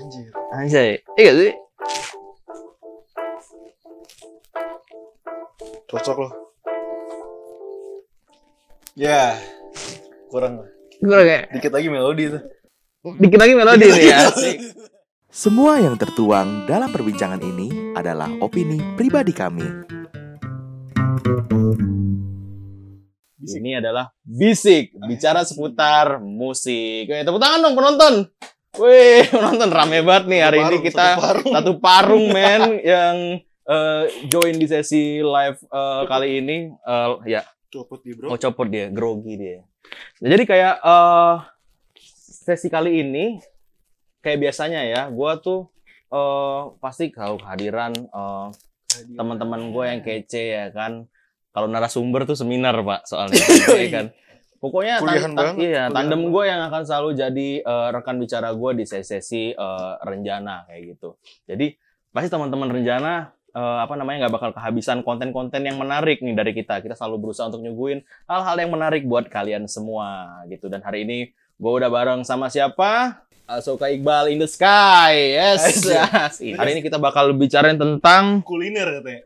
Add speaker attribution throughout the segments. Speaker 1: Anjir.
Speaker 2: Anjay. Iya gak sih?
Speaker 1: Cocok loh. Ya. Kurang lah.
Speaker 2: Gue kayak
Speaker 1: Dikit lagi melodi tuh.
Speaker 2: dikit lagi melodi nih ya. asik.
Speaker 3: Semua yang tertuang dalam perbincangan ini adalah opini pribadi kami.
Speaker 2: Ini adalah bisik bicara seputar musik. Oke, tepuk tangan dong penonton. Wih, penonton rame banget nih hari ini
Speaker 1: Parung,
Speaker 2: kita
Speaker 1: satu parung.
Speaker 2: satu parung men yang eh, join di sesi live eh, kali ini Eh, ya
Speaker 1: Copot di bro.
Speaker 2: mau copot dia grogi dia Nah, jadi kayak eh sesi kali ini kayak biasanya ya gua tuh eh pasti kau kehadiran eh,
Speaker 1: Iya,
Speaker 2: teman-teman gue yang kece ya kan kalau narasumber tuh seminar pak soalnya ya kan pokoknya tan-
Speaker 1: Kuliahan
Speaker 2: tan-
Speaker 1: banget,
Speaker 2: iya,
Speaker 1: kuliahan
Speaker 2: tandem gue yang akan selalu jadi eh, rekan bicara gue di sesi-sesi eh, renjana kayak gitu jadi pasti teman-teman renjana eh, apa namanya nggak bakal kehabisan konten-konten yang menarik nih dari kita kita selalu berusaha untuk nyuguhin hal-hal yang menarik buat kalian semua gitu dan hari ini gue udah bareng sama siapa Asoka Iqbal in the sky, yes.
Speaker 1: Asik.
Speaker 2: Hari ini kita bakal bicarain tentang
Speaker 1: kuliner katanya.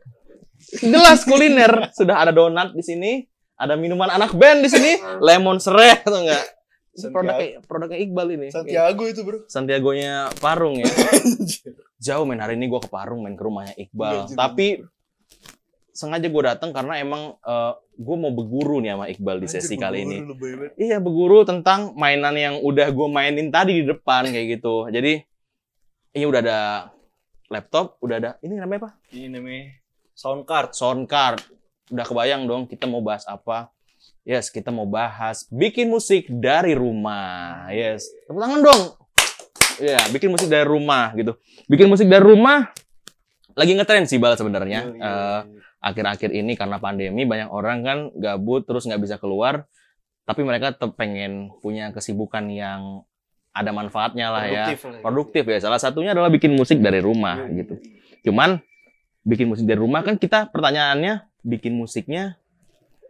Speaker 2: gelas kuliner. Sudah ada donat di sini, ada minuman anak band di sini, lemon sereh atau enggak? Ini
Speaker 1: Santiago.
Speaker 2: Produknya, produknya Iqbal ini.
Speaker 1: Santiago itu bro.
Speaker 2: Santiagonya Parung ya. Jauh men hari ini gua ke Parung main ke rumahnya Iqbal.
Speaker 1: Iya, jauh.
Speaker 2: Tapi sengaja gua datang karena emang eh, gua mau berguru nih sama Iqbal di sesi
Speaker 1: Anjir,
Speaker 2: kali
Speaker 1: bro,
Speaker 2: ini.
Speaker 1: lebay banget.
Speaker 2: Iya berguru tentang mainan yang udah gue mainin tadi di depan kayak gitu. Jadi ini udah ada laptop, udah ada ini namanya apa?
Speaker 1: Ini namanya sound card.
Speaker 2: sound card. Udah kebayang dong kita mau bahas apa? Yes, kita mau bahas bikin musik dari rumah. Yes. Tepuk tangan dong. Iya, bikin musik dari rumah gitu. Bikin musik dari rumah lagi ngetren sih bal sebenarnya.
Speaker 1: Yoi.
Speaker 2: Eh, akhir-akhir ini karena pandemi banyak orang kan gabut terus nggak bisa keluar tapi mereka tetap pengen punya kesibukan yang ada manfaatnya lah ya
Speaker 1: Produktif Iya, lah, gitu.
Speaker 2: produktif ya salah satunya adalah bikin musik dari rumah
Speaker 1: Yoi.
Speaker 2: gitu cuman bikin musik dari rumah kan kita pertanyaannya bikin musiknya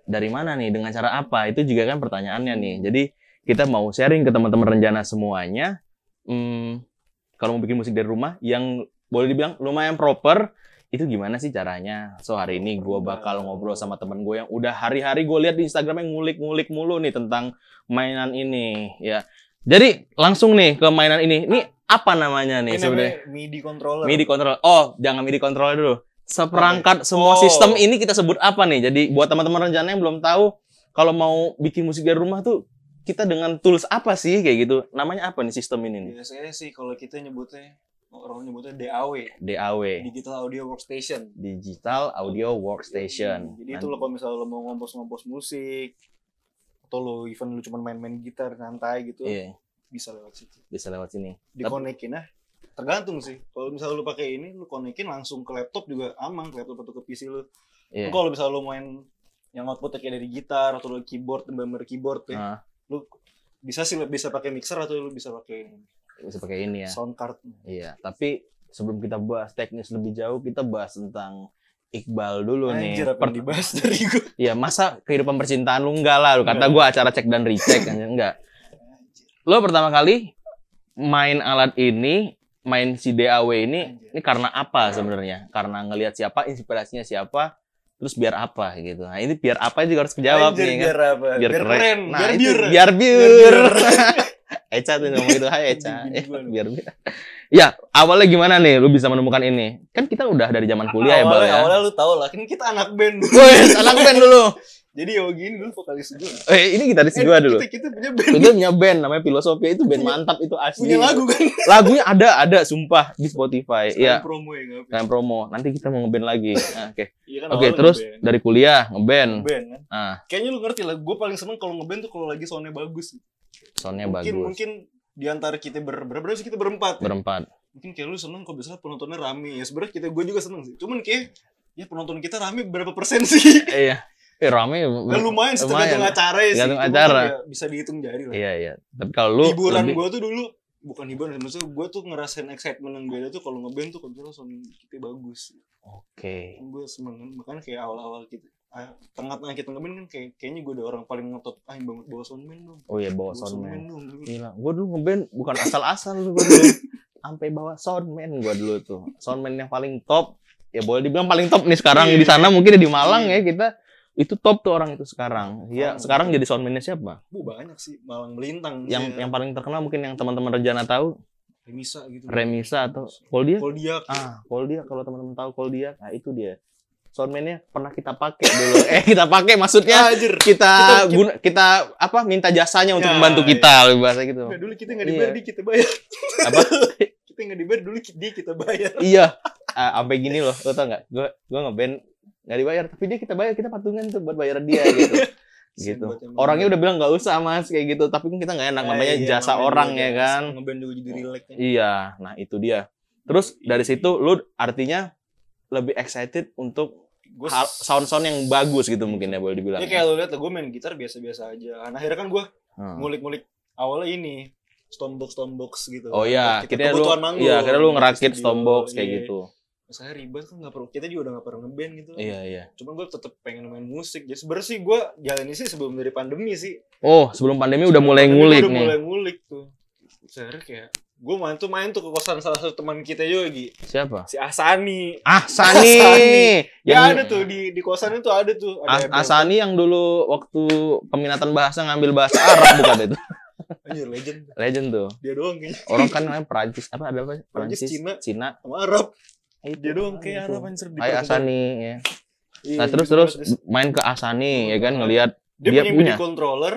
Speaker 2: dari mana nih dengan cara apa itu juga kan pertanyaannya nih jadi kita mau sharing ke teman-teman rencana semuanya Hmm, kalau mau bikin musik dari rumah yang boleh dibilang lumayan proper itu gimana sih caranya so hari ini gue bakal ngobrol sama temen gue yang udah hari-hari gue lihat di Instagramnya ngulik-ngulik mulu nih tentang mainan ini ya jadi langsung nih ke mainan ini ini apa namanya nih
Speaker 1: Ini
Speaker 2: sebenarnya
Speaker 1: namanya MIDI controller.
Speaker 2: MIDI controller. Oh, jangan MIDI controller dulu. Seperangkat semua
Speaker 1: Oh.
Speaker 2: sistem ini kita sebut apa nih? Jadi buat teman-teman rencana yang belum tahu kalau mau bikin musik dari rumah tuh kita dengan tools apa sih kayak gitu? Namanya apa nih sistem ini nih?
Speaker 1: Biasanya sih kalau kita nyebutnya orang nyebutnya DAW,
Speaker 2: DAW,
Speaker 1: Digital Audio Workstation.
Speaker 2: Digital Audio Workstation.
Speaker 1: Hmm, Jadi itu lo kalau misalnya lo mau ngompos-ngompos musik atau lo even lo cuma main-main gitar santai gitu
Speaker 2: Iya,
Speaker 1: bisa lewat situ.
Speaker 2: bisa lewat sini.
Speaker 1: Dikonekin ah. Tergantung sih. Kalau misalnya lo pakai ini lo konekin langsung ke laptop juga aman, ke laptop atau ke PC lo.
Speaker 2: Iya.
Speaker 1: Kalau misalnya lo main yang outputnya kayak dari gitar atau lo keyboard, bener keyboard ya.
Speaker 2: Ah,
Speaker 1: Lo bisa sih lo bisa pakai mixer atau lo bisa pakai
Speaker 2: bisa pakai ini ya.
Speaker 1: sound card.
Speaker 2: Iya, tapi sebelum kita bahas teknis lebih jauh, kita bahas tentang Iqbal dulu nih.
Speaker 1: Anjir apa
Speaker 2: Per-
Speaker 1: yang dibahas dari gue.
Speaker 2: Ya masa kehidupan percintaan lu enggak lah. Lu kata gue acara cek dan recheck. anjing. enggak. Lo pertama kali main alat ini, main si DAW ini, ini karena apa sebenarnya? Karena ngelihat siapa, inspirasinya siapa, terus biar apa gitu. Nah ini biar apa juga harus kejawab
Speaker 1: Anjir,
Speaker 2: nih kan.
Speaker 1: biar apa? Biar, keren,
Speaker 2: Nah,
Speaker 1: biar
Speaker 2: itu,
Speaker 1: biur.
Speaker 2: biar biur.
Speaker 1: Biar biur.
Speaker 2: Eca tuh ngomong gitu, hai Eca.
Speaker 1: Bini gua lu.
Speaker 2: biar biur. Ya, awalnya gimana nih lu bisa menemukan ini? Kan kita udah dari zaman kuliah ya, Bal
Speaker 1: awalnya,
Speaker 2: ya.
Speaker 1: awalnya lu tau lah, kan kita anak band.
Speaker 2: Wih, anak band dulu.
Speaker 1: Jadi ya gini dulu vokalis gue.
Speaker 2: Eh, ini gitaris gua dulu.
Speaker 1: Kita, kita punya band.
Speaker 2: itu punya band namanya Filosofia itu band mantap itu asli.
Speaker 1: Eh, Punya lagu kan.
Speaker 2: Lagunya ada ada sumpah di Spotify.
Speaker 1: Sekalian
Speaker 2: Iya.
Speaker 1: Promo ya nggak apa-apa.
Speaker 2: Kalian promo. Nanti kita mau ngeband lagi. Nah, Oke.
Speaker 1: Iya kan
Speaker 2: Oke,
Speaker 1: awalnya
Speaker 2: terus
Speaker 1: ngeband.
Speaker 2: dari kuliah ngeband.
Speaker 1: Ngeband kan.
Speaker 2: Ah.
Speaker 1: Kayaknya lu ngerti lah, gue paling seneng kalau ngeband tuh kalau lagi soundnya bagus.
Speaker 2: Soundnya
Speaker 1: mungkin
Speaker 2: bagus.
Speaker 1: mungkin di antara kita ber berapa sih kita berempat.
Speaker 2: Berempat.
Speaker 1: mungkin kayak lu seneng kok biasanya penontonnya rame. Ya sebenarnya kita gue juga seneng sih. Cuman kayak ya penonton kita rame berapa persen sih?
Speaker 2: Iya. Eh rame.
Speaker 1: Nah, lumayan sih tergantung acara ya sih.
Speaker 2: Tergantung
Speaker 1: Cuman
Speaker 2: acara.
Speaker 1: ya bisa dihitung jari lah.
Speaker 2: Iya, iya. Tapi kalau lu
Speaker 1: hiburan
Speaker 2: lebih-
Speaker 1: gue tuh dulu bukan hiburan sih, maksudnya gue tuh ngerasain excitement yang beda tuh kalau ngeband tuh kalau misalnya sound kita bagus
Speaker 2: Oke.
Speaker 1: gue seneng kan. makanya kayak awal-awal kita ah, tengah-tengah kita ngeband kan kayak kayaknya gue udah orang paling ngetop ah yang banget bawa soundman dong
Speaker 2: Oh iya bawa
Speaker 1: bawa
Speaker 2: soundman.
Speaker 1: dong
Speaker 2: Gila, gue dulu ngeband bukan asal-asal lu gua dulu. sampai bawa soundman gua dulu tuh. Soundman yang paling top. Ya boleh dibilang paling top nih sekarang
Speaker 1: Iya.
Speaker 2: di sana mungkin di Malang ya kita itu top tuh orang itu sekarang. Ya
Speaker 1: Oh.
Speaker 2: sekarang jadi soundman-nya siapa?
Speaker 1: Bu banyak sih Malang melintang.
Speaker 2: Yang yang paling terkenal mungkin yang teman-teman Rejana tahu,
Speaker 1: Remisa gitu.
Speaker 2: Remisa atau Koldia.
Speaker 1: Koldiak.
Speaker 2: Ah, Koldia kalau teman-teman tahu Koldia, nah itu dia. Soundman-nya pernah kita pakai dulu. eh, kita pakai maksudnya
Speaker 1: Anjir.
Speaker 2: kita
Speaker 1: kita-
Speaker 2: guna kita apa minta jasanya untuk
Speaker 1: Ya,
Speaker 2: membantu
Speaker 1: iya.
Speaker 2: kita lebih bahasa gitu.
Speaker 1: Nggak, dulu kita nggak
Speaker 2: Iya.
Speaker 1: dibayar, dia kita bayar.
Speaker 2: Apa?
Speaker 1: Kita nggak dibayar, dulu ki- dia kita bayar.
Speaker 2: iya. Ah, sampai gini loh, lo tau nggak? Gua gua ngeband nggak dibayar, tapi dia kita bayar, kita patungan tuh buat bayar dia gitu. gitu.
Speaker 1: Buat yang
Speaker 2: Orangnya udah bilang nggak usah mas kayak gitu, tapi kan kita nggak enak
Speaker 1: Eh,
Speaker 2: namanya
Speaker 1: iya,
Speaker 2: jasa
Speaker 1: namanya
Speaker 2: orang
Speaker 1: juga
Speaker 2: ya
Speaker 1: jasa.
Speaker 2: kan.
Speaker 1: Ngeband juga jadi relax.
Speaker 2: Iya, nah itu dia. Terus dari situ lu artinya lebih excited untuk
Speaker 1: Gue
Speaker 2: hal- sound-sound yang bagus gitu mungkin ya boleh dibilang.
Speaker 1: Ya kayak lo liat gue main gitar biasa-biasa aja. Nah akhirnya kan gue
Speaker 2: Hmm.
Speaker 1: ngulik-ngulik awalnya ini stone box stone box gitu.
Speaker 2: Oh iya,
Speaker 1: Kita
Speaker 2: akhirnya lu
Speaker 1: kebutuhan manggung.
Speaker 2: iya, akhirnya lu ngerakit
Speaker 1: Studio,
Speaker 2: Stombox kayak
Speaker 1: iya.
Speaker 2: gitu.
Speaker 1: Saya ribet kan nggak perlu. Kita juga udah nggak pernah ngeband gitu.
Speaker 2: Iya, iya.
Speaker 1: Cuman gue tetep pengen main musik. Jadi sebenernya sih gue jalan sih sebelum dari pandemi sih.
Speaker 2: Oh, sebelum pandemi udah mulai
Speaker 1: Pandemi
Speaker 2: ngulik
Speaker 1: gua udah
Speaker 2: nih.
Speaker 1: Mulai ngulik tuh. Sebenernya kayak gue main tuh main tuh ke kosan salah satu teman kita juga Gi.
Speaker 2: Siapa?
Speaker 1: si Asani.
Speaker 2: Ah, Sani.
Speaker 1: Sani.
Speaker 2: Yang
Speaker 1: Ya ada tuh di di kosan itu ada tuh.
Speaker 2: As-
Speaker 1: Ada
Speaker 2: Asani yang dulu waktu peminatan bahasa ngambil bahasa Arab bukan itu.
Speaker 1: Anjir legend.
Speaker 2: Legend tuh.
Speaker 1: Dia doang kayaknya.
Speaker 2: Orang kan namanya Perancis apa ada apa?
Speaker 1: Perancis, Cina.
Speaker 2: Cina.
Speaker 1: Sama Arab.
Speaker 2: Eh,
Speaker 1: Dia
Speaker 2: itu,
Speaker 1: doang kayak
Speaker 2: itu.
Speaker 1: Arab anjir. di
Speaker 2: Hai
Speaker 1: Perempuan.
Speaker 2: Asani ya.
Speaker 1: Iya,
Speaker 2: Nah,
Speaker 1: gitu
Speaker 2: terus terus
Speaker 1: banget.
Speaker 2: main ke Asani ya kan ngelihat
Speaker 1: Dia,
Speaker 2: dia
Speaker 1: punya,
Speaker 2: punya.
Speaker 1: MIDI controller.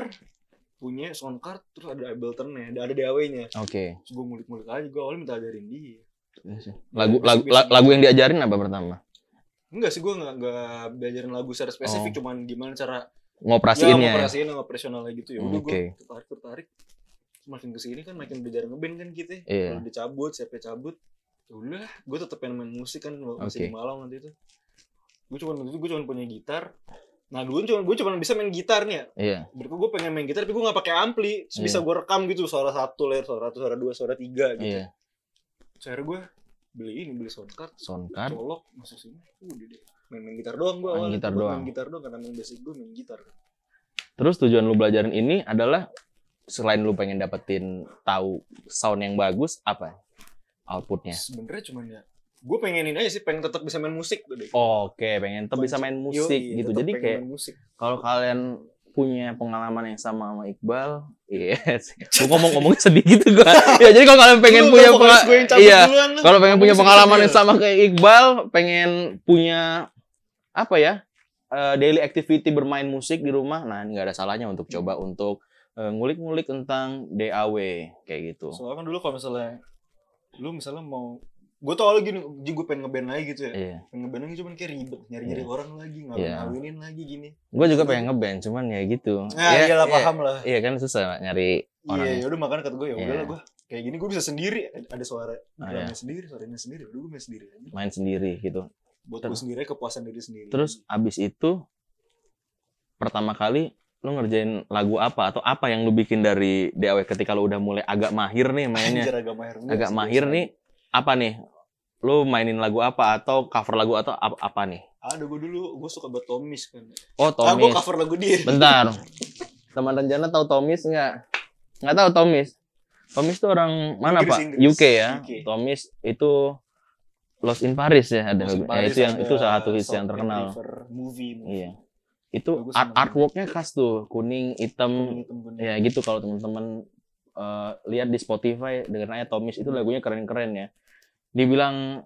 Speaker 1: Punya sound card. Terus ada Ableton-nya. Ada, ada DAW-nya.
Speaker 2: Oke.
Speaker 1: Terus gue ngulik-ngulik aja. Gue awalnya minta ajarin dia.
Speaker 2: Lagu lagu la- lagu yang diajarin apa pertama?
Speaker 1: Enggak sih gue gak, nggak belajarin lagu secara
Speaker 2: Oh.
Speaker 1: spesifik. Cuman gimana cara
Speaker 2: Ngoperasiinnya.
Speaker 1: ya,
Speaker 2: ya?
Speaker 1: operasiin sama operasionalnya gitu ya
Speaker 2: Hmm,
Speaker 1: udah
Speaker 2: oke.
Speaker 1: gue tertarik tertarik semakin kesini kan makin belajar ngeband kan kita
Speaker 2: Iya.
Speaker 1: kalau dicabut siapa yang cabut ya udah gue tetep pengen main musik kan lo masih di
Speaker 2: Oke.
Speaker 1: Malang nanti itu gue cuma itu gue cuma punya gitar nah dulu cuma gue cuma bisa main gitar nih ya
Speaker 2: Iya.
Speaker 1: berarti gue pengen main gitar tapi gue nggak pakai ampli Terus
Speaker 2: Iya.
Speaker 1: bisa gue rekam gitu suara satu layer suara satu suara dua suara tiga gitu
Speaker 2: Iya.
Speaker 1: Terus akhirnya gue beli ini beli sound card
Speaker 2: Sound card.
Speaker 1: colok masuk sini udah deh main-main gitar doang gue
Speaker 2: Main
Speaker 1: awalnya
Speaker 2: gitar
Speaker 1: Gua
Speaker 2: doang.
Speaker 1: main gitar doang karena main basic gue main gitar
Speaker 2: Terus tujuan lu belajarin ini adalah selain lu pengen dapetin tahu sound yang bagus apa outputnya?
Speaker 1: sebenarnya cuman ya gue pengenin aja sih pengen tetap bisa main musik tuh deh
Speaker 2: Oke, pengen tetap bisa main
Speaker 1: Yoi,
Speaker 2: musik gitu.
Speaker 1: Iya, tetap
Speaker 2: Jadi
Speaker 1: pengen
Speaker 2: kayak
Speaker 1: main musik.
Speaker 2: kalau kalian punya pengalaman yang sama sama Iqbal, yes. Gue ngomong-ngomong sedih gitu gua. ya jadi kalau kalian pengen
Speaker 1: Lu
Speaker 2: punya
Speaker 1: udah vokalis
Speaker 2: penga-
Speaker 1: gue yang cabut
Speaker 2: iya,
Speaker 1: duluan lu.
Speaker 2: kalau pengen punya
Speaker 1: Ngomong
Speaker 2: pengalaman yang
Speaker 1: sedih-sedih
Speaker 2: sama kayak Iqbal, pengen punya apa ya? eh, daily activity bermain musik di rumah, nah nggak ada salahnya untuk coba untuk eh, ngulik-ngulik tentang DAW kayak gitu.
Speaker 1: lu. soalnya kan dulu kalau misalnya lu misalnya mau gue tau lagi gini gue pengen ngeband lagi gitu ya
Speaker 2: Iya.
Speaker 1: pengen ngeband lagi cuman kayak ribet nyari nyari orang lagi ngawin
Speaker 2: Iya.
Speaker 1: ngawinin lagi gini
Speaker 2: Gue juga pengen ngeband, cuman ya gitu.
Speaker 1: nah
Speaker 2: Iya,
Speaker 1: iyalah
Speaker 2: iya.
Speaker 1: paham lah
Speaker 2: Iya kan susah nyari orang.
Speaker 1: iya yaudah makanya kata gue ya
Speaker 2: Iya.
Speaker 1: udahlah gue kayak gini gue bisa sendiri ada suara
Speaker 2: Ah,
Speaker 1: drumnya
Speaker 2: iya.
Speaker 1: sendiri suaranya sendiri udah gue main sendiri aja
Speaker 2: main sendiri gitu.
Speaker 1: buat
Speaker 2: Terus-
Speaker 1: gue sendiri kepuasan diri sendiri
Speaker 2: Terus abis itu pertama kali lu ngerjain lagu apa atau apa yang lu bikin dari DAW ketika lu udah mulai agak mahir nih mainnya?
Speaker 1: Anjir, agak mahir banget
Speaker 2: agak
Speaker 1: sih,
Speaker 2: mahir
Speaker 1: biasa.
Speaker 2: nih apa nih lu mainin lagu apa atau cover lagu atau apa, apa nih
Speaker 1: ada gue dulu gue suka buat Tomis kan
Speaker 2: oh
Speaker 1: ah gue
Speaker 2: Tomis
Speaker 1: cover lagu dia
Speaker 2: bentar teman Renjana tahu Tomis nggak nggak tahu Tomis Tomis tuh orang mana
Speaker 1: Inggris,
Speaker 2: pak
Speaker 1: Inggris.
Speaker 2: UK ya
Speaker 1: UK.
Speaker 2: Tomis itu Lost in Paris ya ada
Speaker 1: Masuk
Speaker 2: lagu- eh,
Speaker 1: Paris
Speaker 2: itu yang
Speaker 1: ada
Speaker 2: itu salah satu hits yang
Speaker 1: Salt Lake
Speaker 2: terkenal
Speaker 1: River movie, movie.
Speaker 2: iya itu
Speaker 1: Bagus
Speaker 2: art
Speaker 1: banget.
Speaker 2: artworknya khas tuh kuning hitam
Speaker 1: Temen-temen.
Speaker 2: ya gitu kalau teman-teman eh, lihat di Spotify dengan aja Tomis itu lagunya keren-keren ya. Dibilang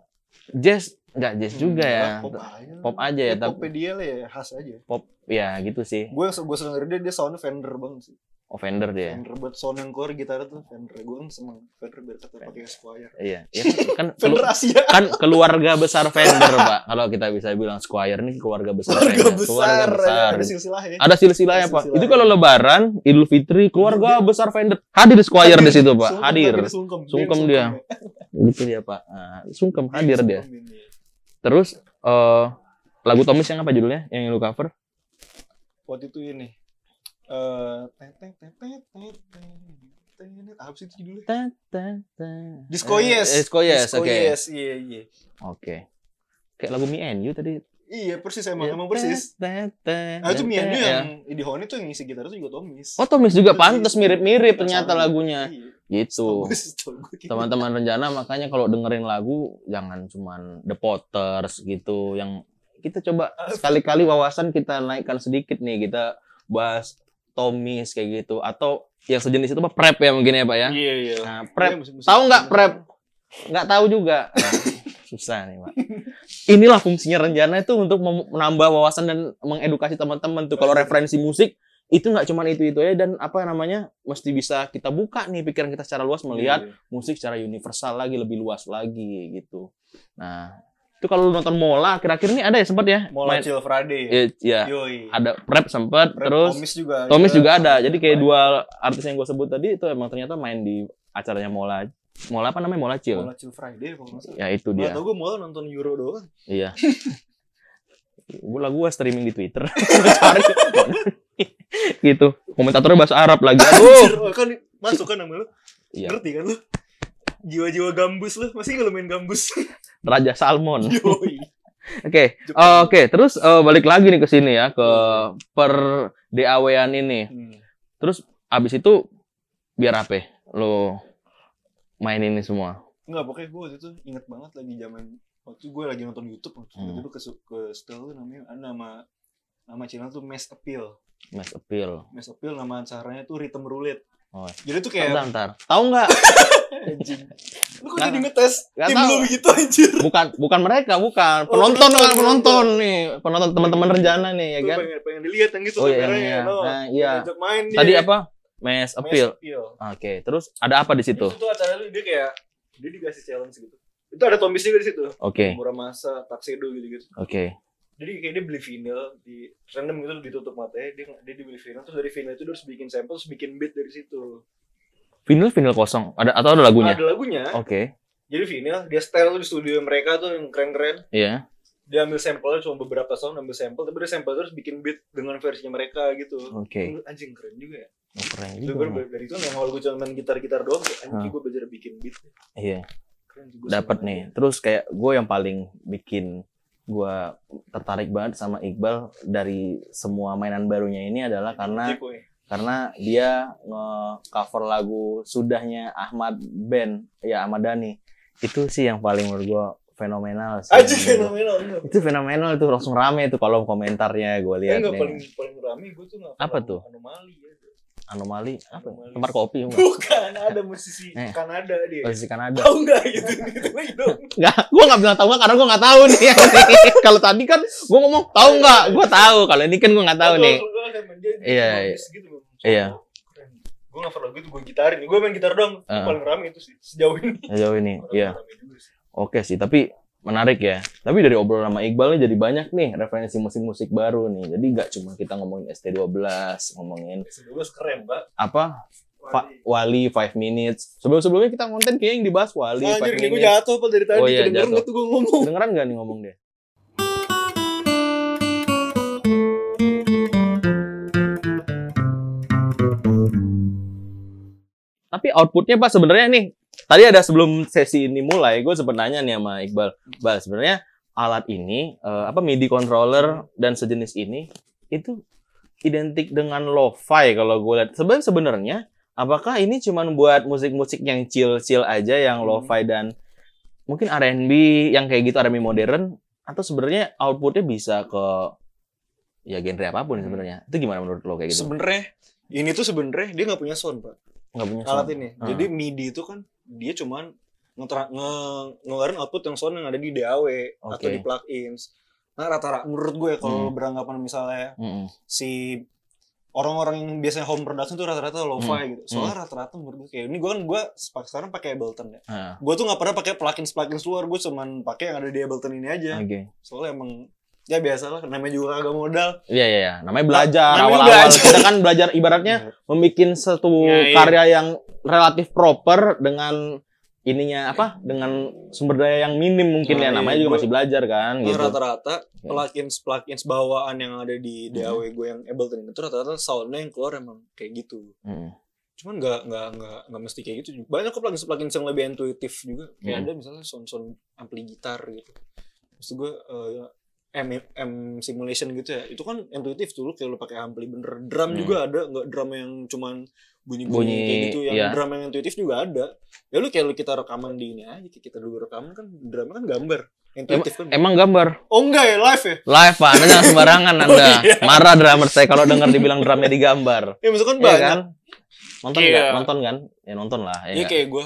Speaker 2: jazz nggak jazz juga
Speaker 1: Hmm,
Speaker 2: ya.
Speaker 1: lah, Pop aja.
Speaker 2: Pop aja ya,
Speaker 1: ya,
Speaker 2: tapi
Speaker 1: popnya dia lah ya khas aja.
Speaker 2: pop ya gitu sih.
Speaker 1: Gue gue sering denger dia dia soundnya Fender banget sih.
Speaker 2: Offender dia.
Speaker 1: Fender buat sound yang core gitar tuh Fender. Gue kan seneng Fender biar kata pakai Squire.
Speaker 2: Iya, ya kan, kan kelu-
Speaker 1: Fender Asia.
Speaker 2: kan keluarga besar Fender, Pak. Kalau kita bisa bilang Squire ini keluarga besar
Speaker 1: Keluarga
Speaker 2: Fender.
Speaker 1: besar.
Speaker 2: besar.
Speaker 1: Ada silsilahnya.
Speaker 2: Ada silsilahnya,
Speaker 1: Ada iya.
Speaker 2: Pak.
Speaker 1: silsilahnya.
Speaker 2: Itu kalau lebaran, Idul Fitri, keluarga besar Fender. Hadir Squire di situ, Pak.
Speaker 1: Sungkem,
Speaker 2: Hadir.
Speaker 1: tapi dia Sungkem,
Speaker 2: Sungkem dia. Gitu dia, Pak. Nah, sungkem hadir dia.
Speaker 1: Iya, Sungkem ini.
Speaker 2: Terus eh lagu Tomis yang apa judulnya? Yang lu cover?
Speaker 1: Waktu itu ini. Eh, teng, teng, teng, teng, teng, teng, teng. apa sih itu judulnya? Disco
Speaker 2: Eh,
Speaker 1: Yes.
Speaker 2: eh, Disco Yes,
Speaker 1: Disco
Speaker 2: oke.
Speaker 1: Yes, iya iya.
Speaker 2: Oke. Kayak lagu Me and You tadi.
Speaker 1: Iya persis emang emang persis. Nah itu Mian
Speaker 2: Mianyu
Speaker 1: yang di Honey tuh yang ngisi gitar tuh juga Tomis.
Speaker 2: ya. Oh Tomis juga
Speaker 1: Itu
Speaker 2: pantas
Speaker 1: sih.
Speaker 2: mirip-mirip ternyata
Speaker 1: Sama.
Speaker 2: lagunya.
Speaker 1: Iya.
Speaker 2: Gitu.
Speaker 1: teman
Speaker 2: Teman-teman rencana makanya kalau dengerin lagu jangan cuman The Potters gitu yang kita coba sekali-kali wawasan kita naikkan sedikit nih kita bahas Tomis kayak gitu atau yang sejenis itu apa prep ya mungkin ya Pak ya.
Speaker 1: iya iya
Speaker 2: Nah, prep
Speaker 1: Iya, musik-musik. Iya,
Speaker 2: Tahu nggak prep? nggak tahu juga. Nah, susah nih, Pak. Inilah fungsinya rencana itu untuk mem- menambah wawasan dan mengedukasi teman-teman tuh kalau referensi musik itu nggak cuman itu-itu aja dan apa namanya mesti bisa kita buka nih pikiran kita secara luas melihat
Speaker 1: Iya, iya.
Speaker 2: musik secara universal lagi lebih luas lagi gitu. Nah, itu kalau lu nonton Mola akhir-akhir ini ada ya sempat ya?
Speaker 1: Mola
Speaker 2: Main-
Speaker 1: Chill Friday
Speaker 2: ya, ya,
Speaker 1: Yoi.
Speaker 2: ada prep sempat
Speaker 1: Prep
Speaker 2: terus
Speaker 1: Tomis Iya. juga
Speaker 2: Tomis
Speaker 1: Kita-
Speaker 2: juga ada. Jadi kayak dua artis yang gue sebut tadi itu emang ternyata main di acaranya Mola. Mola apa namanya? Mola Chill.
Speaker 1: Mola Chill Friday kalau nggak salah
Speaker 2: Ya itu
Speaker 1: Nggak
Speaker 2: dia.
Speaker 1: tahu gue Mola nonton Euro doang
Speaker 2: Iya. Gua lagu gua streaming di Twitter. Cari. gitu. Komentatornya bahasa Arab lagi. Aduh.
Speaker 1: Anjir, kan masuk kan nama lu
Speaker 2: Iya.
Speaker 1: ngerti kan lu jiwa-jiwa gambus lu masih nggak lu main gambus
Speaker 2: Raja Salmon. Oke.
Speaker 1: Yoi.
Speaker 2: Eh, Oke, terus eh, balik lagi nih ke sini ya ke per DAW-an ini.
Speaker 1: Hmm.
Speaker 2: Abis itu biar apa? ya? Lo mainin ini semua.
Speaker 1: Enggak, pokoknya gue waktu itu inget banget lagi zaman waktu gue lagi nonton YouTube waktu
Speaker 2: Hmm.
Speaker 1: itu ke ke setel tuh namanya ada nama nama channel tuh Mass Appeal.
Speaker 2: Mass appeal.
Speaker 1: Mass Appeal nama acaranya tuh Rhythm Roulette.
Speaker 2: Oh.
Speaker 1: Jadi tuh kayak
Speaker 2: Bentar, bentar. Tahu nggak?
Speaker 1: anjing. Lu kok
Speaker 2: Nggak-
Speaker 1: jadi ngetes
Speaker 2: nggak
Speaker 1: tim
Speaker 2: tahu.
Speaker 1: lu begitu anjir.
Speaker 2: Bukan bukan mereka, bukan.
Speaker 1: Oh,
Speaker 2: Penonton
Speaker 1: penonton,
Speaker 2: kan, penonton nih. Penonton teman-teman rencana nih ya
Speaker 1: Tuh
Speaker 2: kan.
Speaker 1: pengen, pengen dilihat yang gitu
Speaker 2: Oh iya,
Speaker 1: kameranya,
Speaker 2: iya.
Speaker 1: no.
Speaker 2: Nah, iya.
Speaker 1: Ajak main dia.
Speaker 2: Tadi apa? Mass
Speaker 1: Mass
Speaker 2: appeal. Gitu. Oke, terus ada apa di
Speaker 1: Itu
Speaker 2: situ?
Speaker 1: tuh acara lu dia kayak dia dikasih challenge gitu. Itu ada Tomis juga di situ.
Speaker 2: Oke,
Speaker 1: Murah masa, Tuxedo gitu-gitu.
Speaker 2: oke.
Speaker 1: jadi kayak dia beli vinyl di random gitu ditutup matanya dia dia dibeli vinyl terus dari vinyl itu dia harus bikin sampel terus bikin beat dari situ
Speaker 2: Vinyl vinyl kosong. Ada atau ada lagunya?
Speaker 1: ada lagunya
Speaker 2: Oke,
Speaker 1: jadi vinyl dia style di studio mereka tuh yang keren-keren
Speaker 2: iya.
Speaker 1: dia ambil sampelnya cuma beberapa sound ambil sampel tapi dia sampel terus bikin beat dengan versinya mereka gitu
Speaker 2: Oke.
Speaker 1: Menurut- anjing keren juga ya
Speaker 2: Oh, Keren
Speaker 1: itu
Speaker 2: juga.
Speaker 1: baru
Speaker 2: Bang.
Speaker 1: dari itu yang awal gue cuma main gitar-gitar doang kayak, anjing gue belajar bikin beat
Speaker 2: Iya,
Speaker 1: keren juga
Speaker 2: dapat nih. Terus kayak gue yang paling bikin gue tertarik banget sama Iqbal dari semua mainan barunya ini adalah karena
Speaker 1: ya.
Speaker 2: karena dia nge-cover lagu sudahnya Ahmad Ben ya Ahmad Dhani itu sih yang paling menurut gua fenomenal sih.
Speaker 1: aja fenomenal enggak
Speaker 2: itu fenomenal tuh langsung rame tuh kolom komentarnya gue
Speaker 1: Eh,
Speaker 2: lihat
Speaker 1: enggak
Speaker 2: nih.
Speaker 1: paling paling rame gue tuh nggak
Speaker 2: iya. Apa
Speaker 1: pernah
Speaker 2: tuh?
Speaker 1: anomali ya
Speaker 2: anomali apa ya?
Speaker 1: Anomali.
Speaker 2: tempat kopi bukan?
Speaker 1: Bukan, ada musisi
Speaker 2: Eh.
Speaker 1: Kanada dia.
Speaker 2: posisi Kanada
Speaker 1: Tahu nggak gitu gitu lagi dong.
Speaker 2: nggak gue nggak bilang tahu nggak karena gue nggak tahu nih kalau tadi kan gue ngomong tahu nggak gue tahu kalau ini kan gue nggak tahu
Speaker 1: Atau
Speaker 2: nih
Speaker 1: kalau nggak sama dia, dia
Speaker 2: Iya,
Speaker 1: cuma
Speaker 2: iya.
Speaker 1: bis gitu loh.
Speaker 2: Iya.
Speaker 1: Keren. Gue nggak pernah gitu, gue gitarin. Gue main gitar dong.
Speaker 2: Heeh.
Speaker 1: Paling rame itu sih sejauh ini.
Speaker 2: jauh ini
Speaker 1: Orang
Speaker 2: iya
Speaker 1: rame juga sih.
Speaker 2: Oke sih, tapi menarik ya. Tapi dari obrolan sama Iqbal nih jadi banyak nih referensi musik-musik baru nih. Jadi nggak cuma kita ngomongin ST12, ngomongin
Speaker 1: Sebelumnya keren, Pak.
Speaker 2: apa Fa-
Speaker 1: Wali.
Speaker 2: Wali Five Minutes. Sebelum-sebelumnya kita konten kayak yang dibahas Wali
Speaker 1: Anjir,
Speaker 2: Five
Speaker 1: kayak gue
Speaker 2: Minutes.
Speaker 1: jatuh apa dari tadi.
Speaker 2: Oh, iya,
Speaker 1: Kedengeran
Speaker 2: jatuh.
Speaker 1: nggak tuh gue ngomong?
Speaker 2: Dengeran nggak nih ngomong dia? Tapi outputnya pak sebenarnya nih tadi ada sebelum sesi ini mulai gue sebenarnya nih sama Iqbal, Iqbal sebenarnya alat ini eh, apa MIDI controller dan sejenis ini itu identik dengan lo-fi kalau gue lihat. Sebenarnya sebenarnya apakah ini cuma buat musik-musik yang chill-chill aja yang
Speaker 1: Hmm.
Speaker 2: lo-fi dan mungkin R&B yang kayak gitu R&B modern atau sebenarnya outputnya bisa ke ya genre apapun
Speaker 1: Hmm.
Speaker 2: sebenarnya itu gimana menurut lo kayak gitu
Speaker 1: Sebenarnya ini tuh sebenarnya dia nggak punya sound, Pak.
Speaker 2: nggak punya
Speaker 1: Alat
Speaker 2: sound?
Speaker 1: ini.
Speaker 2: Heeh.
Speaker 1: Jadi MIDI itu kan dia cuman ngetra- nge ngeluarin output yang sound yang ada di DAW atau
Speaker 2: Oke.
Speaker 1: di plugins. Nah, rata-rata menurut gue kalau
Speaker 2: Hmm.
Speaker 1: beranggapan misalnya
Speaker 2: Mm-mm.
Speaker 1: si orang-orang yang biasanya home production tuh rata-rata lo-fi
Speaker 2: Hmm.
Speaker 1: gitu. Soalnya rata-rata menurut gue kayak ini gue kan gue sepak- sekarang pakai Ableton ya.
Speaker 2: Ah,
Speaker 1: Gue tuh nggak pernah pakai plugins plugins luar, gue cuman pakai yang ada di Ableton ini aja.
Speaker 2: oke
Speaker 1: Soalnya emang ya biasa lah, namanya juga agak modal.
Speaker 2: iya iya iya. namanya belajar
Speaker 1: Namanya
Speaker 2: awal-awal
Speaker 1: belajar.
Speaker 2: kita kan belajar ibaratnya membuat satu
Speaker 1: Iya, iya.
Speaker 2: karya yang relatif proper dengan ininya apa dengan sumber daya yang minim mungkin ya
Speaker 1: Nah, iya,
Speaker 2: namanya juga
Speaker 1: gua-
Speaker 2: masih belajar kan
Speaker 1: Nah,
Speaker 2: gitu
Speaker 1: Rata-rata
Speaker 2: Ya.
Speaker 1: plugins plugins bawaan yang ada di
Speaker 2: Hmm.
Speaker 1: DAW gue yang Ableton itu rata-rata soundnya yang keluar emang kayak gitu.
Speaker 2: Mm-mm.
Speaker 1: cuman nggak nggak nggak nggak mesti kayak gitu banyak kok plugins plugins yang lebih intuitif juga
Speaker 2: Hmm.
Speaker 1: kayak ada misalnya sound sound ampli gitar gitu maksud gue eh, M, M simulation gitu ya itu kan intuitif tuh lu kayak lu pakai ampli bener drum
Speaker 2: Hmm.
Speaker 1: juga ada nggak drum yang cuman bunyi bunyi,
Speaker 2: Bunyi,
Speaker 1: kayak gitu yang
Speaker 2: iya.
Speaker 1: drum yang intuitif juga ada ya lu kayak lu kita rekaman di ini aja kayak kita dulu rekaman kan drumnya kan gambar intuitif kan
Speaker 2: Emang gambar
Speaker 1: oh enggak ya live ya
Speaker 2: live Pak, Anda jangan sembarangan
Speaker 1: Oh,
Speaker 2: Anda.
Speaker 1: iya.
Speaker 2: Marah drummer saya kalau dengar dibilang drumnya digambar.
Speaker 1: ya maksudnya kan
Speaker 2: Iya
Speaker 1: banyak
Speaker 2: kan? Nonton
Speaker 1: Iya.
Speaker 2: nggak? Nonton kan? Ya nonton lah. Ya,
Speaker 1: ya
Speaker 2: nggak?
Speaker 1: kayak gue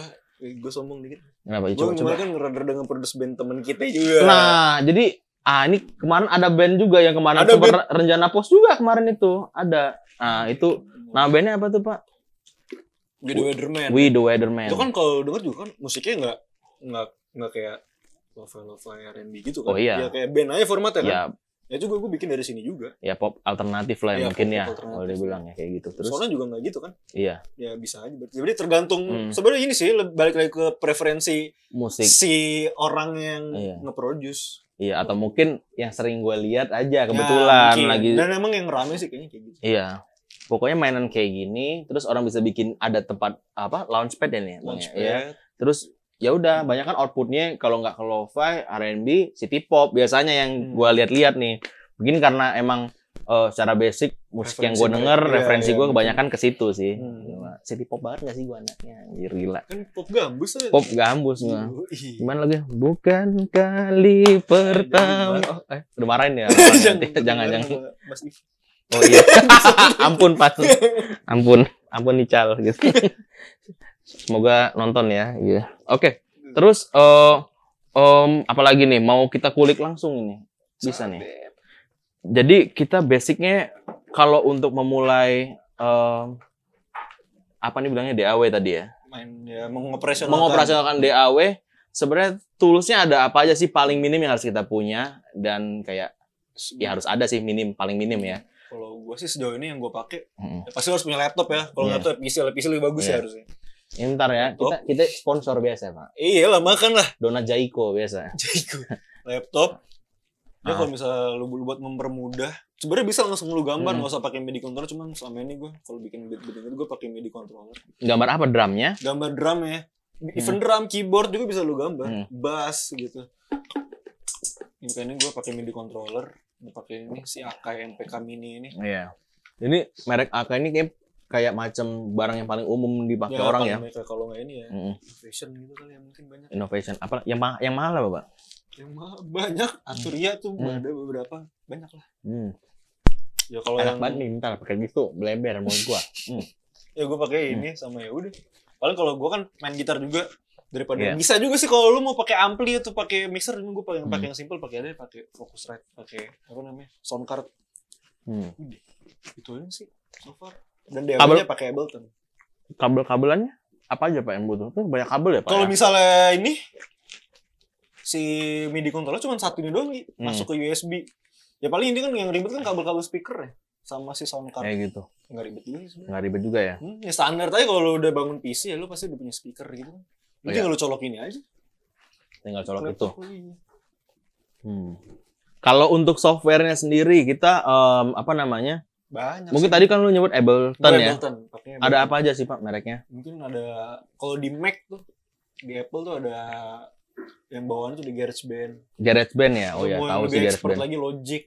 Speaker 1: gue sombong dikit
Speaker 2: Kenapa? Ya,
Speaker 1: gue
Speaker 2: Coba, coba.
Speaker 1: kemarin kan ngerada dengan produs band temen kita juga
Speaker 2: Nah, jadi ah ini kemarin ada band juga yang kemarin
Speaker 1: Ada
Speaker 2: sempat re- rencana pos juga kemarin itu ada. Nah, itu nah bandnya apa tuh Pak?
Speaker 1: Jadi Weatherman
Speaker 2: We the Weatherman.
Speaker 1: Itu kan kalau denger juga kan musiknya nggak nggak nggak kayak lo-fi lo-fi R&B gitu kan.
Speaker 2: Oh, iya.
Speaker 1: Ya kayak band aja formatnya kan. Ya,
Speaker 2: ya
Speaker 1: juga gue bikin dari sini juga.
Speaker 2: ya pop alternatif lah ya,
Speaker 1: Iya,
Speaker 2: mungkin
Speaker 1: pop
Speaker 2: ya
Speaker 1: alternatif.
Speaker 2: kalau dia bilang ya kayak gitu terus
Speaker 1: Soalnya juga nggak gitu kan.
Speaker 2: iya
Speaker 1: Ya bisa aja. berarti. Jadi tergantung
Speaker 2: Hmm.
Speaker 1: sebenarnya ini sih le- balik lagi ke preferensi
Speaker 2: musik
Speaker 1: si orang yang
Speaker 2: Iya.
Speaker 1: nge-produce.
Speaker 2: iya atau mungkin yang sering gue lihat aja kebetulan
Speaker 1: Ya, mungkin.
Speaker 2: lagi
Speaker 1: Dan emang yang rame sih kayaknya kayak gitu.
Speaker 2: iya pokoknya mainan kayak gini terus orang bisa bikin ada tempat apa launchpad ya nih Bang, ya?
Speaker 1: Launchpad.
Speaker 2: Iya. terus ya udah
Speaker 1: Hmm.
Speaker 2: banyak kan outputnya kalau nggak ke lo-fi R&B city pop biasanya yang
Speaker 1: Hmm.
Speaker 2: gue lihat-lihat nih mungkin karena emang eh, secara basic musik yang gue
Speaker 1: Referensi
Speaker 2: denger
Speaker 1: mereka. Iya,
Speaker 2: referensi
Speaker 1: iya,
Speaker 2: gue
Speaker 1: betul.
Speaker 2: kebanyakan ke situ sih
Speaker 1: Hmm.
Speaker 2: Gila. city pop banget gak sih gue anaknya Anjir, gila
Speaker 1: Kan pop gambus aja.
Speaker 2: pop gambus gue
Speaker 1: Hmm. Ih.
Speaker 2: Gimana lagi? Bukan kali pertama.
Speaker 1: Jangan.
Speaker 2: Oh, eh, udah marahin ya.
Speaker 1: Jangan,
Speaker 2: Nanti- jangan, jangan.
Speaker 1: sama Mas If.
Speaker 2: Oh iya. ampun Pak. Ampun, ampun Nical gitu. Semoga nonton ya. Iya. Oke. Terus eh em, apalagi nih mau kita kulik langsung ini. Bisa nih. Jadi kita basicnya kalau untuk memulai em, apa nih bilangnya DAW tadi ya?
Speaker 1: Main ya mengoperasionalkan.
Speaker 2: mengoperasionalkan DAW sebenarnya toolsnya ada apa aja sih paling minim yang harus kita punya dan kayak ya harus ada sih minim paling minim ya
Speaker 1: Kalau gue sih sejauh ini yang gue pakai
Speaker 2: Mm.
Speaker 1: Ya, pasti lu harus punya laptop ya. Kalau
Speaker 2: Iya.
Speaker 1: nggak tuh PC, lah. PC lebih bagus
Speaker 2: Iya.
Speaker 1: ya harusnya.
Speaker 2: ini ntar ya kita kita sponsor biasa pak
Speaker 1: Iya lah makan lah.
Speaker 2: donat Jaiko biasa
Speaker 1: Jago. laptop. Ya
Speaker 2: Ah.
Speaker 1: kalau misalnya lu, lu buat mempermudah, sebenarnya bisa langsung lu gambar
Speaker 2: Hmm.
Speaker 1: nggak usah pakai MIDI controller. Cuman selama ini gue kalau bikin beat beat itu gue pakai MIDI controller.
Speaker 2: gambar apa drumnya
Speaker 1: Gambar drum ya. Even drum, keyboard juga bisa lu gambar.
Speaker 2: Hmm.
Speaker 1: Bass gitu. Ini kan ini gue pakai MIDI controller. Gue pakai ini si Akai MPK Mini ini.
Speaker 2: iya ini merek AK ini kayak kayak macam barang yang paling umum dipakai orang
Speaker 1: pakai
Speaker 2: ya
Speaker 1: mereka kalau nggak ini ya
Speaker 2: Mm-mm.
Speaker 1: fashion gitu kali ya mungkin banyak.
Speaker 2: innovation apa yang ma- yang mahal apa pak
Speaker 1: Yang ma- banyak Arturia tuh
Speaker 2: Hmm.
Speaker 1: ada beberapa banyak lah.
Speaker 2: hmm.
Speaker 1: Ya kalau
Speaker 2: enak
Speaker 1: yang
Speaker 2: banget nih ntar pakai gitu bleber mau gua
Speaker 1: ya gue pakai
Speaker 2: Hmm.
Speaker 1: ini sama ya udah. Paling kalau gue kan main gitar juga daripada
Speaker 2: Iya.
Speaker 1: bisa juga sih kalau lu mau pakai ampli atau pakai mixer ini gue pakai
Speaker 2: Hmm.
Speaker 1: pakai yang simple pakai ada pakai Focusrite pakai apa namanya sound card
Speaker 2: hmm.
Speaker 1: itu aja sih so far dan
Speaker 2: Kabel-
Speaker 1: DAW-nya pakai
Speaker 2: Oh,
Speaker 1: Ableton.
Speaker 2: kabel-kabelannya apa aja pak yang butuh tuh banyak kabel ya pak
Speaker 1: Kalau
Speaker 2: ya?
Speaker 1: misalnya ini si MIDI controller cuma satu ini doang Gi,
Speaker 2: Hmm.
Speaker 1: masuk ke USB. Ya paling ini kan yang ribet kan kabel-kabel speaker ya sama si sound card.
Speaker 2: kayak gitu
Speaker 1: Nggak ribet juga sih sebenarnya.
Speaker 2: nggak ribet juga ya
Speaker 1: Hmm, ya standar aja kalau lu udah bangun PC ya lu pasti udah punya speaker gitu kan. Lu
Speaker 2: Iya.
Speaker 1: tinggal lu colokin aja.
Speaker 2: tinggal colok itu. Hmm.
Speaker 1: Oh, iya.
Speaker 2: Kalau untuk softwarenya sendiri kita em, apa namanya?
Speaker 1: Banyak.
Speaker 2: Mungkin
Speaker 1: sih.
Speaker 2: tadi kan lu nyebut Ableton
Speaker 1: Gua
Speaker 2: ya.
Speaker 1: Ableton, pakainya
Speaker 2: Ada
Speaker 1: Ableton.
Speaker 2: apa aja sih Pak mereknya?
Speaker 1: Mungkin ada kalau di Mac tuh di Apple tuh ada yang bawaan tuh di GarageBand.
Speaker 2: GarageBand ya. Oh ya,
Speaker 1: Kalau mau
Speaker 2: tahu
Speaker 1: yang
Speaker 2: sih
Speaker 1: lebih expert
Speaker 2: GarageBand.
Speaker 1: lagi Logic.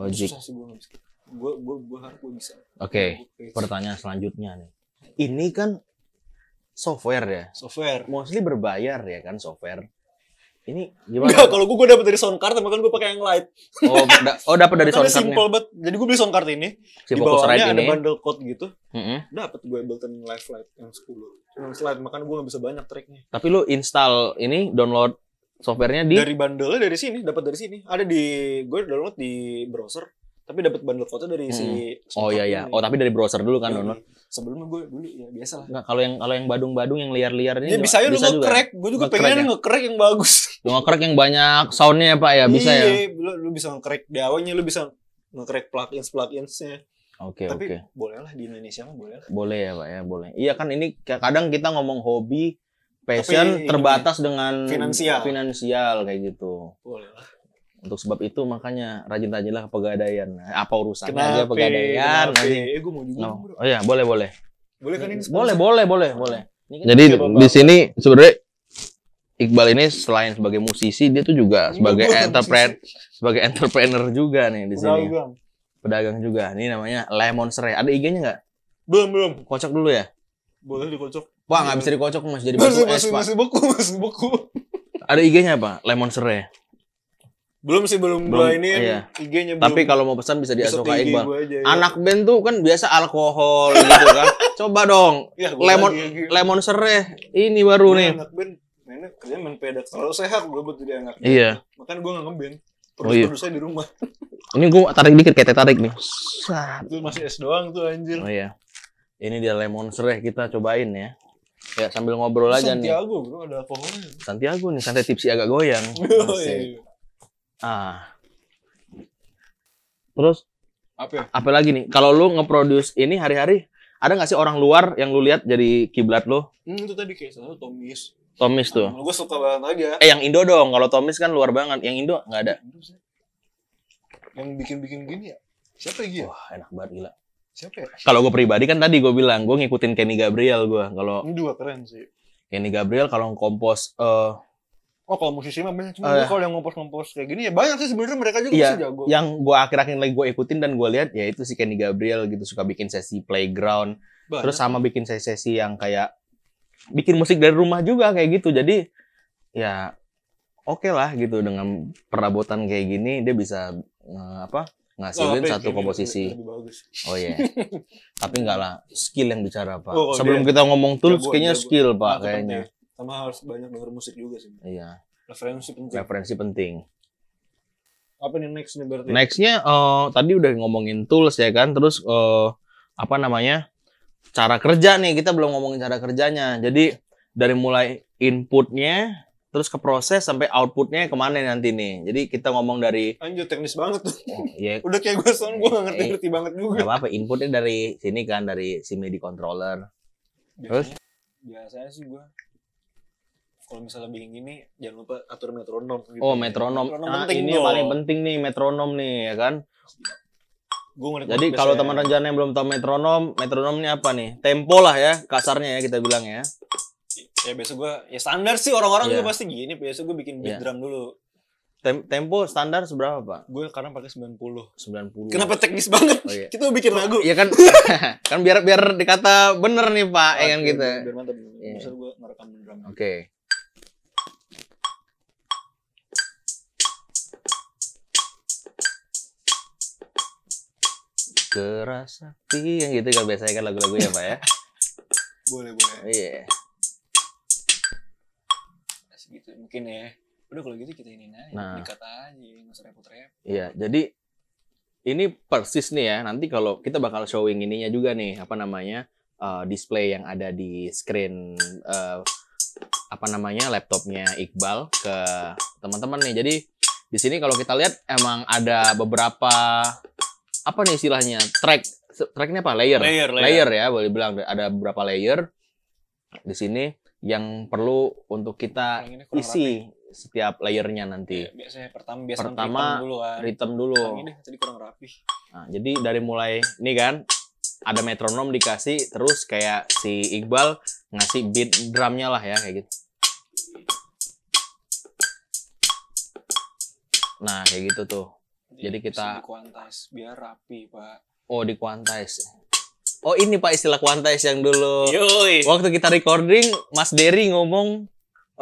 Speaker 2: Logic.
Speaker 1: Susah sih gue nggak bisa. Gue gue gue harap gue bisa.
Speaker 2: Oke,
Speaker 1: Gua pakai
Speaker 2: pertanyaan selanjutnya nih. Ini kan software ya.
Speaker 1: Software.
Speaker 2: Mostly berbayar ya kan software. Ini
Speaker 1: Enggak,
Speaker 2: gimana?
Speaker 1: kalau gue gue dapet dari sound card, makanya gue pakai yang light.
Speaker 2: Oh, da- oh dapat dari soundcardnya.
Speaker 1: Karena Kan simple banget. Jadi gue beli sound card ini,
Speaker 2: Si
Speaker 1: di bawahnya
Speaker 2: Focusrite
Speaker 1: ada
Speaker 2: ini.
Speaker 1: bundle code gitu.
Speaker 2: Mm-mm.
Speaker 1: dapat gue Ableton Live Lite yang 10 yang slide makanya gue gak bisa banyak tracknya
Speaker 2: Tapi lu install ini download softwarenya di
Speaker 1: dari bundle dari sini dapat dari sini ada di gue download di browser tapi dapat bundle kota dari si Iya,
Speaker 2: Oh iya iya. Oh tapi dari browser dulu kan download.
Speaker 1: sebelumnya gue dulu ya biasa lah
Speaker 2: Enggak, kalau yang kalau yang Badung-Badung yang liar-liar ini
Speaker 1: ya
Speaker 2: juga-
Speaker 1: bisa ya lu
Speaker 2: juga
Speaker 1: nge-crack gue juga
Speaker 2: Nge-crack
Speaker 1: pengen
Speaker 2: ya?
Speaker 1: nge-crack yang bagus
Speaker 2: Lu nge-crack yang banyak soundnya ya Pak ya bisa ya.
Speaker 1: iya lu, lu bisa nge-crack DAW-nya lu bisa nge-crack plugins pluginsnya
Speaker 2: Oke
Speaker 1: tapi
Speaker 2: Ya, oke
Speaker 1: boleh lah di Indonesia mah boleh lah
Speaker 2: boleh ya Pak ya boleh. Iya kan ini ka- kadang kita ngomong hobi passion
Speaker 1: Tapi ini-
Speaker 2: terbatas dengan
Speaker 1: Finansial.
Speaker 2: finansial kayak gitu.
Speaker 1: boleh lah
Speaker 2: Untuk sebab itu makanya rajin-rajinlah ke pegadaian. Nah, Apa urusannya aja
Speaker 1: kenapa
Speaker 2: pegadaian
Speaker 1: kenapa?
Speaker 2: nanti.
Speaker 1: eh gue mau juga
Speaker 2: No.
Speaker 1: bro.
Speaker 2: Oh iya boleh boleh.
Speaker 1: boleh kan ini
Speaker 2: Boleh
Speaker 1: sponsor?
Speaker 2: boleh boleh boleh. Ini kan-
Speaker 4: Jadi
Speaker 1: Oke, Bapak.
Speaker 4: di sini sebenarnya
Speaker 2: Iqbal ini selain sebagai musisi, dia tuh juga sebagai
Speaker 1: Bukan,
Speaker 2: entrepreneur, sebagai entrepreneur juga nih di sini.
Speaker 1: Pedagang.
Speaker 2: Pedagang juga. Ini namanya Lemon Serai. Ada IG-nya nggak?
Speaker 1: Belum, belum.
Speaker 2: Kocok dulu ya.
Speaker 1: Boleh dikocok.
Speaker 2: Wah, nggak bisa dikocok masih jadi batu es,
Speaker 1: Iya. Masih, masih,
Speaker 2: Pak.
Speaker 1: masih beku, masih beku.
Speaker 2: Ada IG-nya apa? Lemon Serai.
Speaker 1: Belum sih, belum,
Speaker 2: Belum,
Speaker 1: gua ini
Speaker 2: iya.
Speaker 1: IG-nya belum.
Speaker 2: Tapi kalau mau pesan bisa di
Speaker 1: Besok
Speaker 2: Asoka
Speaker 1: IG
Speaker 2: Iqbal.
Speaker 1: gua aja, ya.
Speaker 2: Anak band tuh kan biasa alkohol gitu kan. Coba dong.
Speaker 1: Ya, gua
Speaker 2: Lemon
Speaker 1: lagi- lagi.
Speaker 2: Lemon Serai. Ini baru
Speaker 1: Gua
Speaker 2: nih.
Speaker 1: Anak band, mainnya kerja main pedak. Kalau sehat gue buat jadi anak.
Speaker 2: Iya.
Speaker 1: Makanya gue nggak ngeband.
Speaker 2: Oh, iya.
Speaker 1: Terus saya di rumah.
Speaker 2: Ini gue tarik dikit kayak tarik nih. Sat.
Speaker 1: Itu masih es doang tuh anjir.
Speaker 2: Oh iya. Ini dia lemon sereh kita cobain ya. Ya sambil ngobrol aja nih.
Speaker 1: Santiago bro, ada alkoholnya.
Speaker 2: Santiago nih santai tipsi agak goyang.
Speaker 1: Oh,
Speaker 2: Asik.
Speaker 1: Yoi.
Speaker 2: Ah. Terus
Speaker 1: Apa ya?
Speaker 2: apa lagi nih? Kalau lu nge-produce ini hari-hari ada nggak sih orang luar yang lu lihat jadi kiblat lu?
Speaker 1: Hmm, itu tadi kayak salah satu Tomis.
Speaker 2: Tomis tuh.
Speaker 1: gue suka banget ya. aja.
Speaker 2: Eh yang Indo dong. Kalau Tomis kan luar banget. Yang Indo nggak ada.
Speaker 1: Yang bikin-bikin gini ya? Siapa ya? Gia?
Speaker 2: Wah enak banget gila.
Speaker 1: Siapa ya?
Speaker 2: Kalau gue pribadi kan tadi gue bilang gue ngikutin Kenny Gabriel gue. Kalau
Speaker 1: Ini juga keren sih.
Speaker 2: Kenny Gabriel kalau kompos eh
Speaker 1: Oh kalau musisi mah
Speaker 2: Oh,
Speaker 1: banyak. Cuma gua
Speaker 2: iya.
Speaker 1: kalau yang ngompos-ngompos kayak gini ya banyak sih sebenarnya mereka juga
Speaker 2: Iya,
Speaker 1: bisa jago.
Speaker 2: yang gue akhir-akhir lagi gue ikutin dan gue lihat ya itu si Kenny Gabriel gitu suka bikin sesi playground
Speaker 1: Banyak.
Speaker 2: terus sama bikin sesi-sesi yang kayak bikin musik dari rumah juga kayak gitu jadi ya oke lah gitu dengan perabotan kayak gini dia bisa eh, apa
Speaker 1: Oh,
Speaker 2: ngasilin
Speaker 1: apa ya,
Speaker 2: satu
Speaker 1: kayak
Speaker 2: komposisi
Speaker 1: gini, Lebih bagus.
Speaker 2: oh iya tapi enggak lah skill yang bicara pak
Speaker 1: Oh, oh,
Speaker 2: sebelum kita ngomong tools
Speaker 1: Jagoan,
Speaker 2: kayaknya
Speaker 1: jagoan.
Speaker 2: skill pak
Speaker 1: Nah, itu
Speaker 2: kayaknya
Speaker 1: penting. Sama harus banyak denger musik juga sih.
Speaker 2: iya
Speaker 1: Referensi penting.
Speaker 2: referensi penting
Speaker 1: Apa nih next nih berarti?
Speaker 2: Nextnya eh, tadi udah ngomongin tools ya kan, terus eh, apa namanya cara kerja nih kita belum ngomongin cara kerjanya. Jadi dari mulai inputnya, terus ke proses sampai outputnya kemana nanti nih. Jadi kita ngomong dari
Speaker 1: Anjir teknis banget tuh.
Speaker 2: oh, ya
Speaker 1: Udah kayak gue sound gue gak
Speaker 2: Eh.
Speaker 1: ngerti-ngerti banget juga.
Speaker 2: nggak apa-apa inputnya dari sini kan dari si MIDI controller. Terus?
Speaker 1: Biasanya- Biasanya sih gue kalau misalnya bikin gini jangan lupa atur metronom. Gitu.
Speaker 2: Oh metronom. Nah,
Speaker 1: penting
Speaker 2: ini
Speaker 1: dong.
Speaker 2: paling penting nih metronom nih ya kan.
Speaker 1: Gua ngerti
Speaker 2: Jadi kalau teman ya. rencana yang belum tahu metronom, metronomnya apa nih? Tempo lah ya kasarnya ya kita bilang ya.
Speaker 1: ya biasa gue ya standar sih orang-orang
Speaker 2: Iya.
Speaker 1: juga pasti gini. Biasa gue bikin beat
Speaker 2: Iya.
Speaker 1: drum dulu.
Speaker 2: Tem- tempo standar seberapa pak?
Speaker 1: Gue sekarang pakai 90.
Speaker 2: 90.
Speaker 1: Kenapa teknis banget?
Speaker 2: Iya. Oh iya.
Speaker 1: Kita bikin lagu.
Speaker 2: Iya kan, kan biar biar dikata bener nih Pak, ya kan
Speaker 1: Oke,
Speaker 2: gitu.
Speaker 1: Biar mantap.
Speaker 2: Iya.
Speaker 1: Bisa gue ngerekam drum.
Speaker 2: Oke. Kerasa yang gitu kan biasanya kan lagu-lagu ya Pak ya.
Speaker 1: Boleh boleh.
Speaker 2: Iya.
Speaker 1: Segitu mungkin ya. Udah kalau gitu kita ini aja.
Speaker 2: Nah.
Speaker 1: Dikata aja. Nggak usah repot-repot.
Speaker 2: Iya, jadi ini persis nih ya. Nanti kalau kita bakal showing ininya juga nih, apa namanya? eh, display yang ada di screen eh, apa namanya? laptopnya Iqbal ke teman-teman nih. Jadi di sini kalau kita lihat emang ada beberapa apa nih istilahnya? track tracknya apa? Layer
Speaker 1: Layer
Speaker 2: layer ya boleh bilang ada beberapa layer di sini yang perlu untuk kita
Speaker 1: Yang ini kurang
Speaker 2: isi setiap layernya nanti
Speaker 1: Iya, Biasanya pertama biasa
Speaker 2: Pertama,
Speaker 1: nonton dulu kan.
Speaker 2: rhythm
Speaker 1: Kurang
Speaker 2: dulu
Speaker 1: ini tadi kurang rapi.
Speaker 2: nah, jadi dari mulai ini kan ada metronom dikasih terus kayak si Iqbal ngasih beat drumnya lah ya kayak gitu nah kayak gitu tuh Jadi kita-
Speaker 1: mesti dikuantas biar rapi, Pak.
Speaker 2: oh di quantize oh ini pak istilah quantize yang dulu
Speaker 1: Yoi.
Speaker 2: waktu kita recording Mas Derry ngomong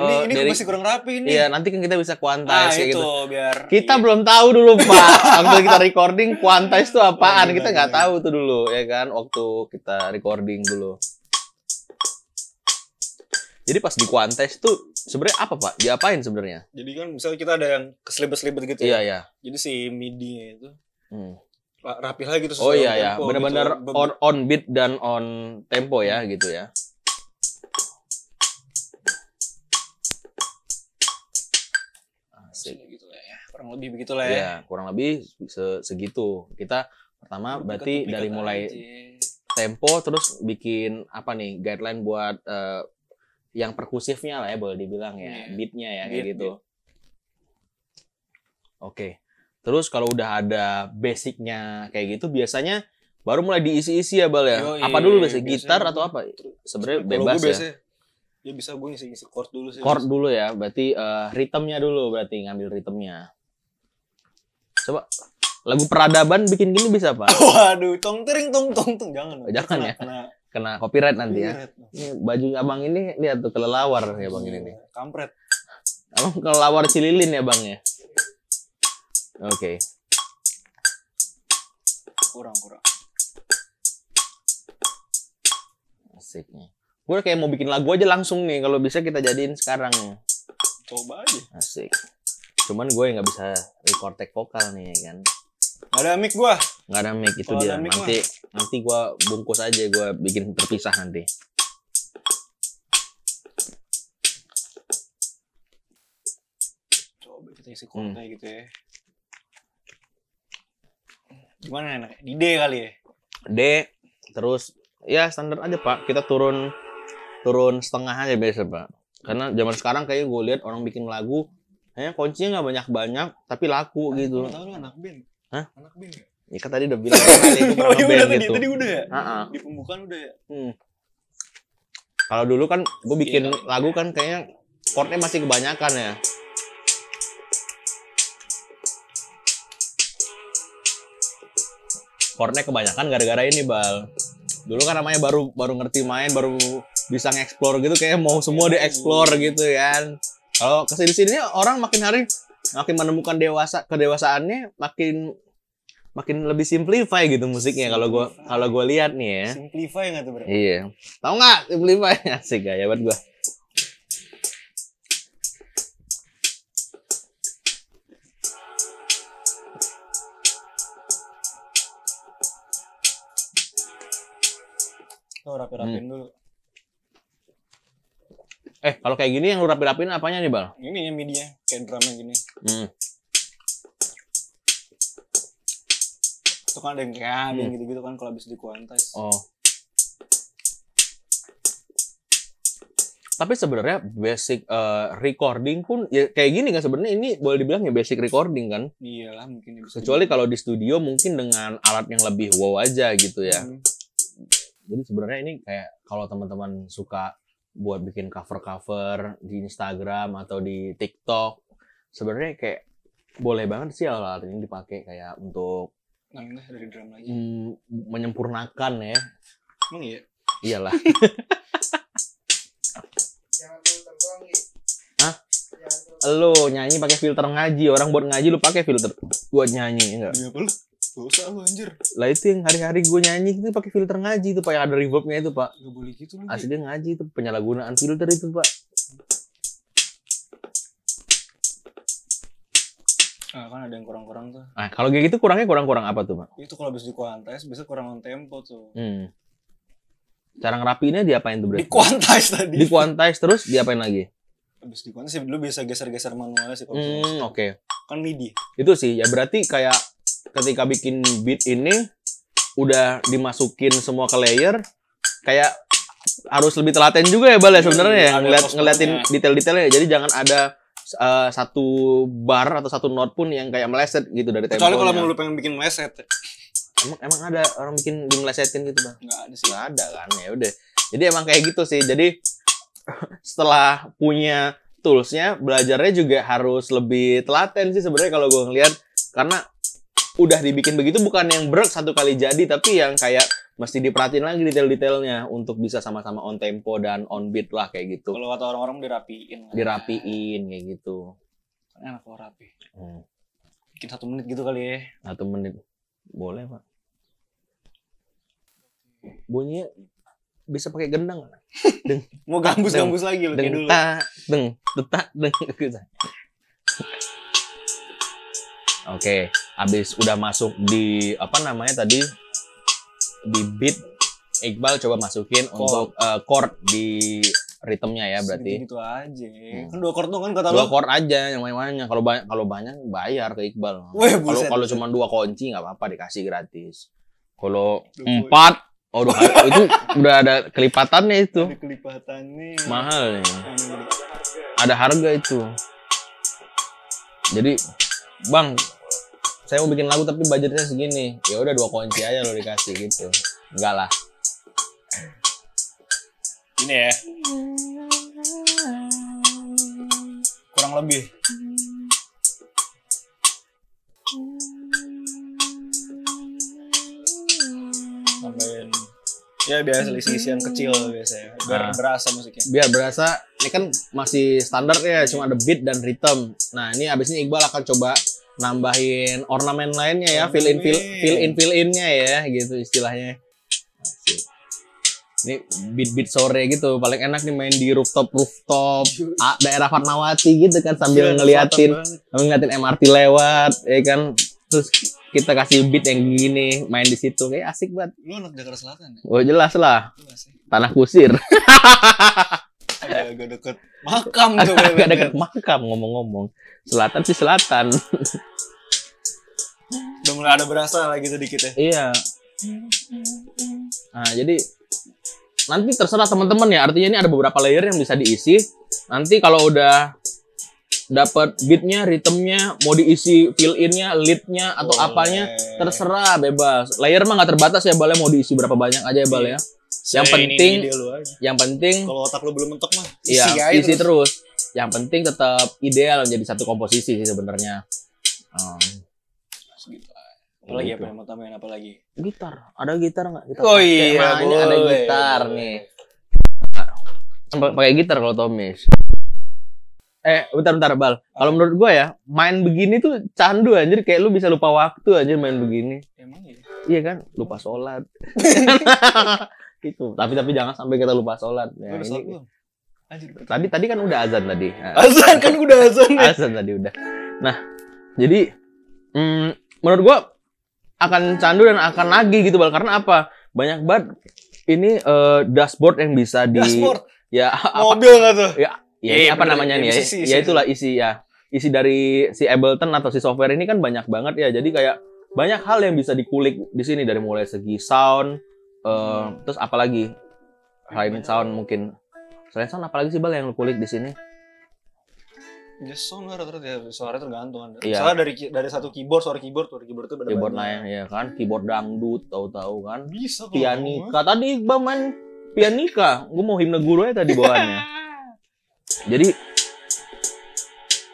Speaker 1: ini
Speaker 2: eh,
Speaker 1: ini
Speaker 2: Derry-
Speaker 1: masih kurang rapi ini.
Speaker 2: Iya, nanti kan kita bisa
Speaker 1: Ah,
Speaker 2: quantize kayak
Speaker 1: itu
Speaker 2: gitu.
Speaker 1: biar
Speaker 2: Kita
Speaker 1: iya.
Speaker 2: belum tahu dulu, Pak. Waktu kita recording quantize itu apaan?
Speaker 1: Iya,
Speaker 2: Kita
Speaker 1: iya,
Speaker 2: nggak
Speaker 1: iya.
Speaker 2: tahu tuh dulu, ya kan? Waktu kita recording dulu. Jadi pas di quantize tuh sebenarnya apa, Pak? Diapain sebenarnya?
Speaker 1: Jadi kan misalnya kita ada yang keselibet-selibet gitu
Speaker 2: Iya,
Speaker 1: ya.
Speaker 2: iya.
Speaker 1: Jadi si midi-nya itu
Speaker 2: Hmm.
Speaker 1: ra- rapi lagi gitu
Speaker 2: Oh
Speaker 1: sesuai
Speaker 2: iya ya,
Speaker 1: tempo
Speaker 2: benar-benar
Speaker 1: gitu. Be- Hmm.
Speaker 2: on on beat dan on tempo ya gitu ya. Asik.
Speaker 1: gitu lah ya. Kurang lebih begitulah ya.
Speaker 2: Ya, kurang lebih se- segitu. Kita pertama berarti
Speaker 1: Pikat-pikat
Speaker 2: dari mulai
Speaker 1: aja.
Speaker 2: tempo terus bikin apa nih guideline buat eh, yang perkusifnya lah ya boleh dibilang ya,
Speaker 1: Iya.
Speaker 2: beatnya ya kayak
Speaker 1: Beat,
Speaker 2: gitu. Oke. Terus kalau udah ada basicnya kayak gitu biasanya baru mulai diisi-isi ya Bal ya.
Speaker 1: Yoi,
Speaker 2: apa dulu biasanya
Speaker 1: biasanya
Speaker 2: gitar
Speaker 1: gua-
Speaker 2: atau apa? Sebenarnya
Speaker 1: Kalau
Speaker 2: bebas ya.
Speaker 1: gua biasanya Ya bisa gue ngisi-ngisi chord dulu sih.
Speaker 2: Chord dulu ya, berarti eh, ritmenya dulu berarti ngambil ritmenya. Coba lagu peradaban bikin gini bisa pak?
Speaker 1: Waduh, tong tering tong tong tong jangan. dong.
Speaker 2: Jangan
Speaker 1: Kena-
Speaker 2: ya.
Speaker 1: Kena
Speaker 2: Kena copyright nanti ya.
Speaker 1: copyright.
Speaker 2: Ini baju abang ini lihat tuh kelelawar ya bang ini nih.
Speaker 1: Kampret.
Speaker 2: Abang kelelawar cililin ya bang ya. Oke.
Speaker 1: Kurang kurang.
Speaker 2: Asik nih. Gue kayak mau bikin lagu aja langsung nih. Kalau bisa kita jadiin sekarang.
Speaker 1: Coba aja.
Speaker 2: Asik. Cuman gue nggak bisa record take vokal nih ya kan.
Speaker 1: Gak ada mic gua.
Speaker 2: Nggak ada mic itu
Speaker 1: Kalau
Speaker 2: dia.
Speaker 1: ada mic
Speaker 2: nanti nanti gue bungkus aja. Gue bikin terpisah nanti.
Speaker 1: Coba kita isi
Speaker 2: Hmm.
Speaker 1: chordnya gitu ya. Gimana enak? Di D kali ya.
Speaker 2: D. Terus ya standar aja pak. Kita turun turun setengah aja biasa pak. Karena zaman sekarang kayaknya gue lihat orang bikin lagu. Kayaknya kuncinya nggak banyak-banyak. Tapi laku gitu.
Speaker 1: Tahu lu anak band.
Speaker 2: Hah?
Speaker 1: Anak band. ya?
Speaker 2: Ya kan tadi udah bilang kali. Gue pernah
Speaker 1: Oh, iya
Speaker 2: ngeband
Speaker 1: udah tadi,
Speaker 2: gitu.
Speaker 1: tadi udah ya.
Speaker 2: Heeh.
Speaker 1: Di pembukaan udah ya.
Speaker 2: Hmm. Kalau dulu kan gue bikin
Speaker 1: Iya.
Speaker 2: lagu kan kayaknya chordnya masih kebanyakan ya. Chordnya kebanyakan gara-gara ini bal. Dulu kan namanya baru baru ngerti main, baru bisa nge-explore gitu kayak mau semua di-explore gitu kan. Kalau kesini sini orang makin hari makin menemukan dewasa kedewasaannya makin makin lebih simplify gitu musiknya kalau gua kalau gua lihat nih ya.
Speaker 1: Simplify nggak tuh bro?
Speaker 2: Iya. Tahu nggak Simplify? Asik gaya banget gua.
Speaker 1: Tuh rapi-rapiin
Speaker 2: Hmm.
Speaker 1: dulu.
Speaker 2: Eh, kalau kayak gini yang lu rapi-rapiin apanya nih, Bal?
Speaker 1: Ini ya midinya kayak drumnya gini.
Speaker 2: Hmm.
Speaker 1: Itu kan ada yang kayak ada yang
Speaker 2: Hmm.
Speaker 1: gitu-gitu kan kalau habis di kuantais.
Speaker 2: Oh. Tapi sebenarnya basic eh, recording pun ya kayak gini kan sebenarnya ini boleh dibilang ya basic recording kan.
Speaker 1: Iyalah mungkin ya bisa.
Speaker 2: Kecuali kalau di studio mungkin dengan alat yang lebih wow aja gitu ya.
Speaker 1: Hmm.
Speaker 2: Jadi sebenarnya ini kayak kalau teman-teman suka buat bikin cover-cover di Instagram atau di TikTok, sebenarnya kayak boleh banget sih alat ini dipakai kayak untuk
Speaker 1: Nah, ini dari drum lagi.
Speaker 2: mm, menyempurnakan ya.
Speaker 1: Emang iya.
Speaker 2: Iyalah. Hah? Lo nyanyi pakai filter ngaji, orang buat ngaji lu pakai filter buat nyanyi enggak?
Speaker 1: Demi apa lu? Gak usah lu anjir.
Speaker 2: Lah itu yang hari-hari gue nyanyi itu pakai filter ngaji itu Pak yang ada reverbnya itu Pak.
Speaker 1: Gak boleh gitu lu. Gi.
Speaker 2: Aslinya ngaji itu penyalahgunaan filter itu Pak.
Speaker 1: Ah, kan ada yang kurang-kurang tuh.
Speaker 2: Nah, kalau kayak gitu kurangnya kurang-kurang apa tuh, Pak?
Speaker 1: Itu kalau habis di kuantais biasa kurang on tempo tuh.
Speaker 2: Hmm. Cara ngerapiinnya diapain tuh, Bre?
Speaker 1: Di kuantais tadi.
Speaker 2: Dikuantais terus diapain lagi?
Speaker 1: Habis di kuantais ya, lu biasa geser-geser manualnya sih kalau bisa.
Speaker 2: Hmm, oke.
Speaker 1: kan midi.
Speaker 2: Itu sih ya berarti kayak ketika bikin beat ini udah dimasukin semua ke layer kayak harus lebih telaten juga ya Bal ya
Speaker 1: Iya,
Speaker 2: sebenarnya ya
Speaker 1: ada
Speaker 2: ngeliat,
Speaker 1: post-post-nya.
Speaker 2: ngeliatin detail-detailnya ya. jadi jangan ada eh, satu bar atau satu note pun yang kayak meleset gitu dari temponya
Speaker 1: Kecuali kalau mau lu pengen bikin ya. meset.
Speaker 2: emang, emang ada orang bikin dimelesetin gitu Bang
Speaker 1: Enggak ada sih.
Speaker 2: nggak ada kan ya udah jadi emang kayak gitu sih jadi setelah punya toolsnya belajarnya juga harus lebih telaten sih sebenarnya kalau gue ngeliat karena udah dibikin begitu bukan yang brek satu kali jadi tapi yang kayak mesti diperhatiin lagi detail-detailnya untuk bisa sama-sama on tempo dan on beat lah kayak gitu
Speaker 1: Kalau kata orang-orang dirapiin. Kan
Speaker 2: dirapiin kayak gitu
Speaker 1: Enak kalau rapi.
Speaker 2: Hmm,
Speaker 1: Bikin satu menit gitu kali ya.
Speaker 2: satu menit boleh pak bunyinya bisa pakai gendang nggak?
Speaker 1: Mau gambus-gambus lagi lu kayak
Speaker 2: deng
Speaker 1: dulu.
Speaker 2: ta deng tetak deng gitu. Oke, habis udah masuk di apa namanya tadi di beat Iqbal coba masukin
Speaker 1: Chord.
Speaker 2: untuk eh, chord di ritmenya ya berarti.
Speaker 1: Gitu aja.
Speaker 2: Hmm.
Speaker 1: Kan dua chord dong kan kata lu.
Speaker 2: Dua chord aja yang banyak Kalau banyak kalau banyak bayar ke Iqbal.
Speaker 1: Weh,
Speaker 2: Kalau
Speaker 1: buset.
Speaker 2: kalau cuma dua kunci nggak apa-apa dikasih gratis. Kalau
Speaker 1: Dua
Speaker 2: empat, aduh itu udah ada kelipatannya itu.
Speaker 1: Ada kelipatannya.
Speaker 2: Mahal ya.
Speaker 1: Nah, ini gini.
Speaker 2: ada harga itu. Jadi, Bang, saya mau bikin lagu tapi budgetnya segini. Ya udah dua kunci aja lo dikasih gitu. Enggak lah.
Speaker 1: Ini ya. kurang lebih. Tambahin ya biasa isi-isian kecil biasanya
Speaker 5: Nah.
Speaker 1: biar berasa musiknya.
Speaker 2: biar berasa ini kan masih standar ya cuma ada beat dan rhythm nah ini abis ini Iqbal akan coba nambahin ornamen lainnya ya fill in fill fill in fill innya ya gitu istilahnya Asik. ini beat beat sore gitu paling enak nih main di rooftop rooftop ah, daerah Fatmawati gitu kan sambil
Speaker 1: Gila,
Speaker 2: ngeliatin
Speaker 1: kelihatan Iya, banget.
Speaker 2: sambil ngeliatin MRT lewat ya kan terus kita kasih beat yang gini main di situ kayak asik banget
Speaker 1: Lu anak Jakarta Selatan ya? Iya
Speaker 2: oh jelas lah
Speaker 1: Lu masih
Speaker 2: tanah kusir
Speaker 1: agak Iya, deket makam tuh.
Speaker 2: agak
Speaker 1: bener-bener.
Speaker 2: dekat makam ngomong-ngomong selatan sih selatan
Speaker 1: Udah mulai ada berasa lagi sedikit ya.
Speaker 2: iya nah jadi nanti terserah teman-teman ya artinya ini ada beberapa layer yang bisa diisi nanti kalau udah dapat beatnya rhythmnya mau diisi fill innya leadnya atau
Speaker 1: Boleh.
Speaker 2: apanya terserah bebas layer mah nggak terbatas ya balnya mau diisi berapa banyak aja ya bal ya yang
Speaker 1: Seinin
Speaker 2: penting-
Speaker 1: ide lu aja.
Speaker 2: yang penting
Speaker 1: Kalau otak lu belum mentok mah
Speaker 2: Iya,
Speaker 1: aja
Speaker 2: isi terus. Yang penting tetap ideal menjadi satu komposisi sih sebenarnya. Hmm.
Speaker 1: Apalagi
Speaker 2: Gitu.
Speaker 1: apa yang mau tambahin apa lagi?
Speaker 2: Eh, Gitar, ada gitar nggak? Gitar
Speaker 1: Oh
Speaker 2: pakai.
Speaker 1: iya,
Speaker 2: Nah, ini ada
Speaker 1: boleh,
Speaker 2: gitar
Speaker 1: boleh.
Speaker 2: nih. Kan pak- Pakai gitar kalau Tomis. Eh, bentar-bentar Bal. Kalau menurut gua ya, main begini tuh candu anjir. Kayak lu bisa lupa waktu anjir main begini.
Speaker 1: Emang ya?
Speaker 2: Iya kan? Lupa sholat. gitu. Tapi tapi jangan sampai kita lupa sholat. Ya,
Speaker 1: Udah
Speaker 2: ini-
Speaker 1: sholat belum? Anjir.
Speaker 2: tadi tadi kan udah azan tadi. Nah,
Speaker 1: Azan kan udah azan ya.
Speaker 2: Alasan tadi udah. Nah, jadi mm, menurut gua akan candu dan akan nagih gitu bal karena apa? Banyak banget ini eh, dashboard yang bisa di
Speaker 1: Dashboard.
Speaker 2: ya apa
Speaker 1: Mobil nggak tuh?
Speaker 2: ya,
Speaker 1: Iya,
Speaker 2: ini
Speaker 1: iya,
Speaker 2: apa
Speaker 1: bener.
Speaker 2: namanya
Speaker 1: Iya,
Speaker 2: nih ya?
Speaker 1: isi, isi,
Speaker 2: ya itulah isi ya. Isi dari si Ableton atau si software ini kan banyak banget ya. Jadi kayak banyak hal yang bisa dikulik di sini dari mulai segi sound eh, terus apalagi selain sound mungkin selain sound apalagi sih bal yang lu kulik di sini?
Speaker 1: Ya sound lah rata-rata ya, suara tergantung ada.
Speaker 2: Iya.
Speaker 1: Soalnya dari ki- dari satu keyboard suara keyboard suara keyboard itu beda
Speaker 2: keyboard lain ya kan keyboard dangdut tahu-tahu kan
Speaker 1: Bisa kalau mau.
Speaker 2: pianika tadi Iqbal main pianika gue mau himne guru aja tadi bawaannya jadi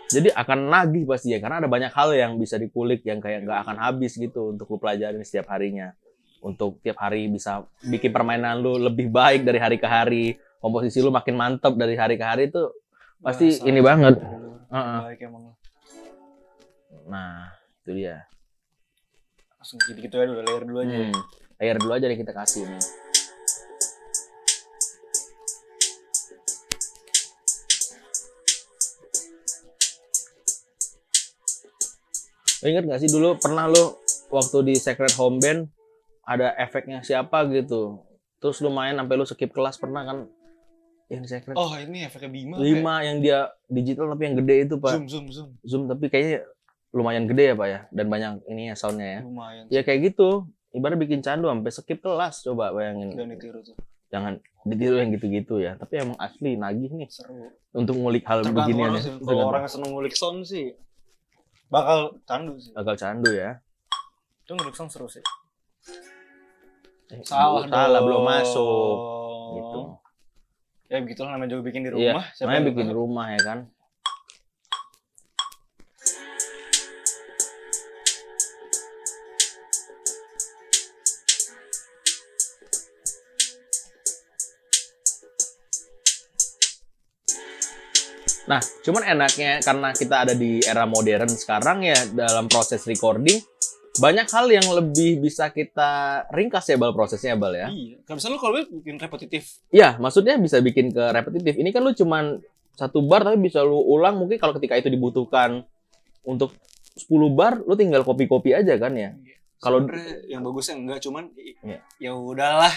Speaker 2: jadi akan nagih pasti ya karena ada banyak hal yang bisa dikulik yang kayak nggak akan habis gitu untuk lu pelajarin setiap harinya untuk tiap hari bisa bikin permainan lu lebih baik dari hari ke hari komposisi lu makin mantep dari hari ke hari itu pasti
Speaker 1: Bahasa
Speaker 2: ini banget.
Speaker 1: Jawa.
Speaker 2: Heeh.
Speaker 1: Baik emang.
Speaker 2: nah itu dia
Speaker 1: Langsung gitu gitu aja udah layer dulu aja.
Speaker 2: hmm. layer dulu aja deh kita kasih nih Lo ingat gak sih dulu pernah lo waktu di Secret Home Band ada efeknya siapa gitu. Terus lu main sampai lu skip kelas pernah kan yang Secret
Speaker 1: Oh ini efeknya Bima. kayak
Speaker 2: lima yang dia digital tapi yang gede itu pak
Speaker 1: Zoom zoom zoom.
Speaker 2: zoom, tapi kayaknya lumayan gede ya pak ya dan banyak ini ya soundnya ya
Speaker 1: Lumayan.
Speaker 2: ya kayak gitu ibarat bikin candu sampai skip kelas coba bayangin
Speaker 1: Dan ditiru tuh
Speaker 2: jangan ditiru yang gitu-gitu ya tapi emang asli nagih nih
Speaker 1: seru.
Speaker 2: untuk ngulik hal
Speaker 1: Tergantung
Speaker 2: beginian
Speaker 1: orang
Speaker 2: ya
Speaker 1: sih. Kalau
Speaker 2: Tergantung.
Speaker 1: orang yang seneng ngulik sound sih bakal candu sih.
Speaker 2: bakal candu ya
Speaker 1: Itu ngulik sound seru sih.
Speaker 2: Eh,
Speaker 1: Salah,
Speaker 2: salah
Speaker 1: dong.
Speaker 2: belum masuk gitu
Speaker 1: Ya begitulah namanya juga bikin di
Speaker 2: Iya,
Speaker 1: rumah. Siapa
Speaker 2: Makanya
Speaker 1: yang
Speaker 2: bikin
Speaker 1: tahu?
Speaker 2: rumah ya kan. Nah, cuman enaknya karena kita ada di era modern sekarang ya dalam proses recording banyak hal yang lebih bisa kita ringkas ya bal prosesnya bal ya.
Speaker 1: Iya. Kalau misalnya lu kalau bikin repetitif.
Speaker 2: Iya, maksudnya bisa bikin ke repetitif. Ini kan lu cuman satu bar tapi bisa lu ulang mungkin kalau ketika itu dibutuhkan untuk 10 bar lu tinggal kopi-kopi aja kan ya. Kalau
Speaker 1: Sebenarnya yang bagusnya enggak cuman i-
Speaker 2: Iya.
Speaker 1: ya udahlah.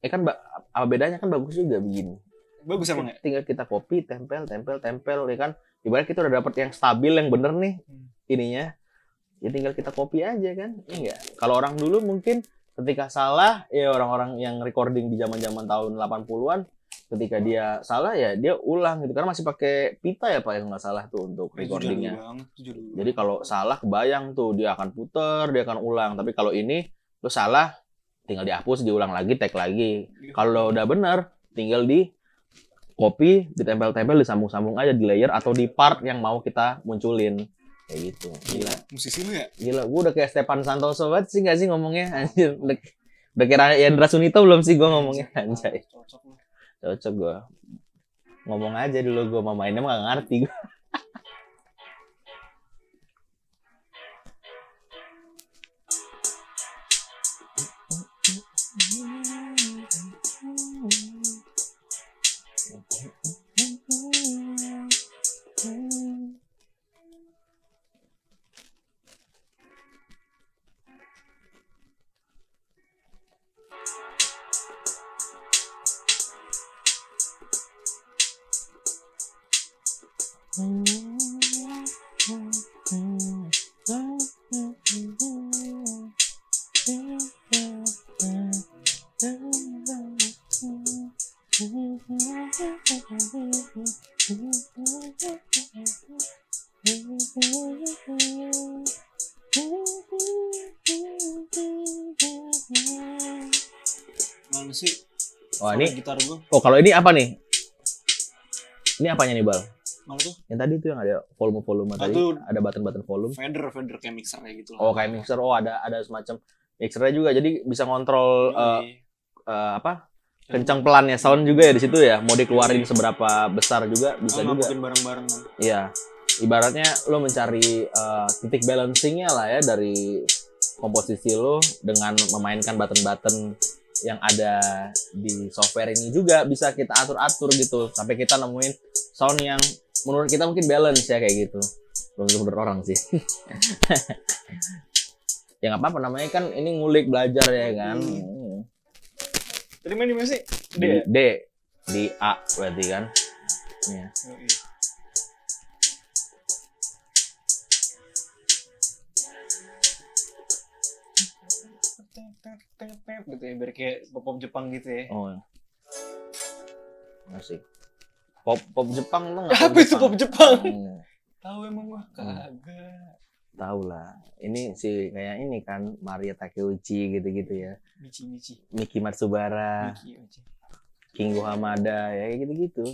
Speaker 2: eh kan ba- apa bedanya kan bagus juga begini.
Speaker 1: Bagus emang ya?
Speaker 2: Tinggal kita kopi, tempel, tempel, tempel ya kan. Ibarat kita udah dapet yang stabil yang bener nih
Speaker 1: Hmm.
Speaker 2: ininya. Ya tinggal kita kopi aja kan. Iya nggak? Kalau orang dulu mungkin ketika salah ya orang-orang yang recording di zaman-zaman tahun 80-an ketika dia salah ya dia ulang gitu karena masih pakai pita ya Pak yang nggak salah tuh untuk
Speaker 1: Itu Iya, jujur
Speaker 2: Iya, recordingnya.
Speaker 1: banget, jujur banget.
Speaker 2: Jadi kalau salah kebayang tuh dia akan puter, dia akan ulang. Tapi kalau ini lu salah
Speaker 1: Iya.
Speaker 2: tinggal dihapus, diulang lagi, tag lagi. Kalau udah benar tinggal di kopi ditempel-tempel disambung-sambung aja di layer atau di part yang mau kita munculin kayak gitu gila
Speaker 1: musisi lu ya
Speaker 2: gila gue udah kayak Stepan Santoso banget sih gak sih ngomongnya anjir udah, udah kira Yandra Sunito belum sih gue ngomongnya anjay
Speaker 1: cocok lu
Speaker 2: cocok gue ngomong aja dulu gue mamainnya mah gak ngerti gue
Speaker 1: mana sih
Speaker 2: wah
Speaker 1: Sama
Speaker 2: ini
Speaker 1: gitar gua
Speaker 2: oh kalau ini apa nih ini apanya nih bal
Speaker 1: mana tuh
Speaker 2: yang tadi tuh yang ada volume volume tadi
Speaker 1: Aduh.
Speaker 2: ada button button volume
Speaker 1: Fender Fender kayak mixer kayak gitu lah
Speaker 2: oh kayak mixer oh ada ada semacam mixernya juga jadi bisa ngontrol eh,
Speaker 1: Iya.
Speaker 2: eh, apa kencang pelannya sound juga ya di situ ya mau dikeluarin seberapa besar juga bisa
Speaker 1: Oh,
Speaker 2: juga
Speaker 1: mungkin bareng-bareng kan.
Speaker 2: Iya. Ibaratnya lo mencari eh, titik balancingnya lah ya dari komposisi lo dengan memainkan button-button yang ada di software ini juga bisa kita atur-atur gitu sampai kita nemuin sound yang menurut kita mungkin balance ya kayak gitu. Belum tentu menurut orang sih. ya nggak apa-apa namanya kan ini ngulik belajar ya kan.
Speaker 1: Tadi main di mana sih? D.
Speaker 2: Di D di A berarti kan. Iya.
Speaker 1: Yoi. gitu ya, biar kayak pop Jepang gitu ya.
Speaker 2: Oh. Masih. Pop pop Jepang lo nggak?
Speaker 1: Apa itu pop Jepang?
Speaker 2: Hmm,
Speaker 1: Tahu emang gua
Speaker 2: Hmm.
Speaker 1: kagak.
Speaker 2: Tahu lah. Ini si kayak ini kan Maria Takeuchi gitu-gitu ya.
Speaker 1: Michi Michi.
Speaker 2: Miki Matsubara,
Speaker 1: Michi Michi.
Speaker 2: Kingo Hamada ya kayak gitu-gitu.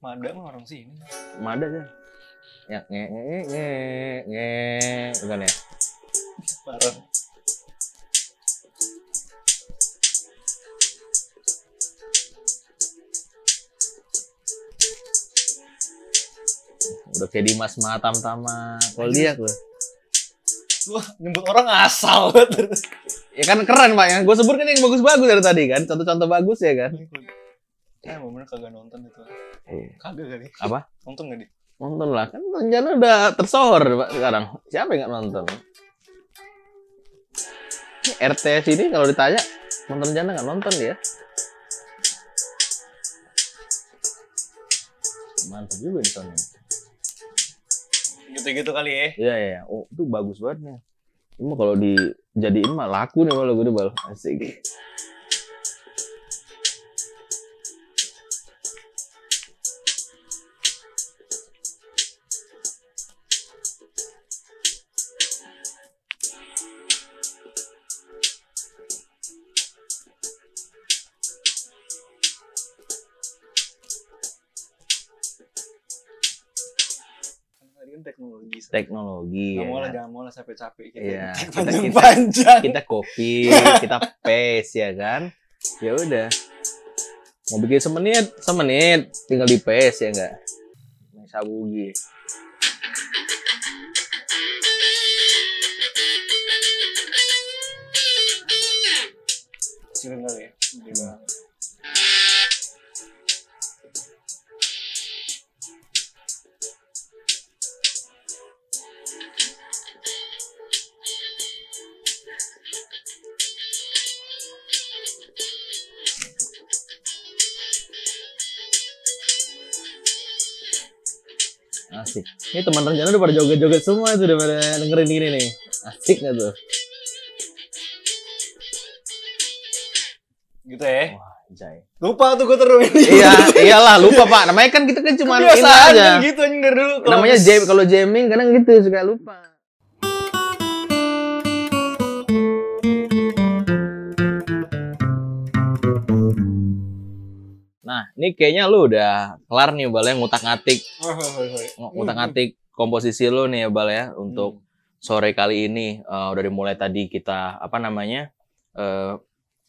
Speaker 1: Mada mah orang sini.
Speaker 2: Hamada kan. Ya nge nge nge nge bukan ya?
Speaker 1: Parah.
Speaker 2: Udah kayak Dimas Matam Tama. Kalau
Speaker 1: Iya.
Speaker 2: lihat lo.
Speaker 1: Lu nyebut orang asal banget.
Speaker 2: Ya kan keren pak yang gue sebut kan yang bagus-bagus dari tadi kan. Contoh-contoh bagus ya kan.
Speaker 1: Eh, bener kagak nonton itu. Kagak kali.
Speaker 2: Apa?
Speaker 1: Nonton gak deh?
Speaker 2: Nonton lah kan rencana udah tersohor pak sekarang. Siapa yang nggak nonton? Ini RTS ini kalau ditanya nonton rencana nggak nonton dia. Mantap juga nih soundnya.
Speaker 1: Gitu-gitu kali ya.
Speaker 2: Iya iya, iya. oh itu bagus banget nih. Ini mah kalau dijadiin mah laku nih kalau gue bal asik.
Speaker 1: Tadi kan teknologi.
Speaker 2: Teknologi.
Speaker 1: Gak
Speaker 2: ya
Speaker 1: mau lah,
Speaker 2: kan?
Speaker 1: jangan mau lah capek-capek gitu.
Speaker 2: Iya, kita-
Speaker 1: Panjang-panjang.
Speaker 2: kita kopi, kita paste ya kan. Ya udah. Mau bikin semenit, semenit tinggal di paste ya enggak. Main sabugi.
Speaker 1: Kecilin kali ya. Gila.
Speaker 2: Asik. Ini teman rencana udah pada joget-joget semua itu udah pada dengerin ini nih. Asik nggak tuh?
Speaker 1: Gitu ya.
Speaker 2: Wah, anjay.
Speaker 1: Lupa tuh gue terus ini.
Speaker 2: iya, iyalah lupa Pak. Namanya kan kita kan cuma ini
Speaker 1: Kebiasaan
Speaker 2: aja.
Speaker 1: kan gitu anjing dari dulu. Kalau
Speaker 2: Namanya
Speaker 1: habis-
Speaker 2: jam kalau jamming kadang gitu suka lupa. Nah, ini kayaknya lu udah kelar nih Bal ya ngutak-ngatik,
Speaker 1: Hohohoy.
Speaker 2: ngutak-ngatik komposisi lu nih ya Bal ya untuk sore kali ini. Eh, udah dimulai tadi kita apa namanya? eh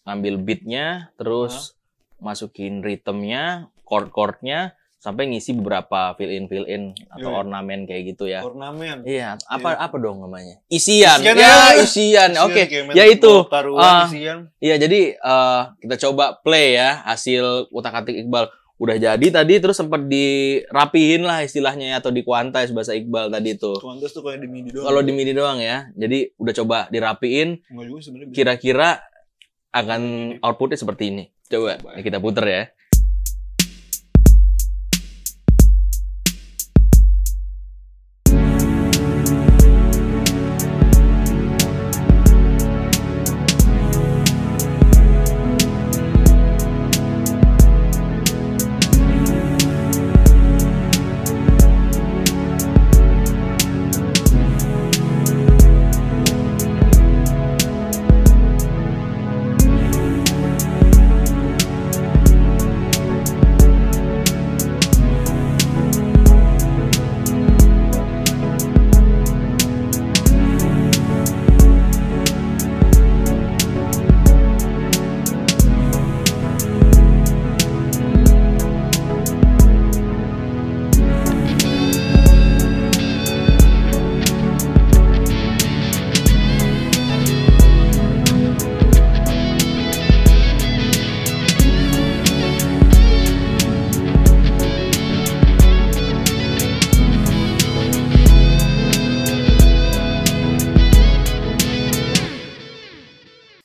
Speaker 2: ngambil beatnya, terus masukin ritmenya, chord-chordnya sampai ngisi beberapa fill in fill in atau
Speaker 1: Yoi.
Speaker 2: ornamen kayak gitu
Speaker 1: Hmm,
Speaker 2: ya.
Speaker 1: ornamen.
Speaker 2: Iya, apa apa dong namanya? Isian.
Speaker 1: Isian
Speaker 2: ya,
Speaker 1: ya.
Speaker 2: isian. Oke.
Speaker 1: Isian, kayak
Speaker 2: ya
Speaker 1: main
Speaker 2: itu.
Speaker 1: taruhan,
Speaker 2: Ah.
Speaker 1: isian.
Speaker 2: Iya jadi eh, kita coba play ya hasil utak atik Iqbal udah jadi tadi terus sempat dirapihin lah istilahnya ya, atau dikuantais bahasa Iqbal tadi itu
Speaker 1: Cuman terus tuh kayak di mini doang.
Speaker 2: kalau di midi doang ya jadi udah coba dirapiin
Speaker 1: Nggak juga sebenarnya bisa.
Speaker 2: kira-kira akan outputnya seperti ini coba ini kita puter ya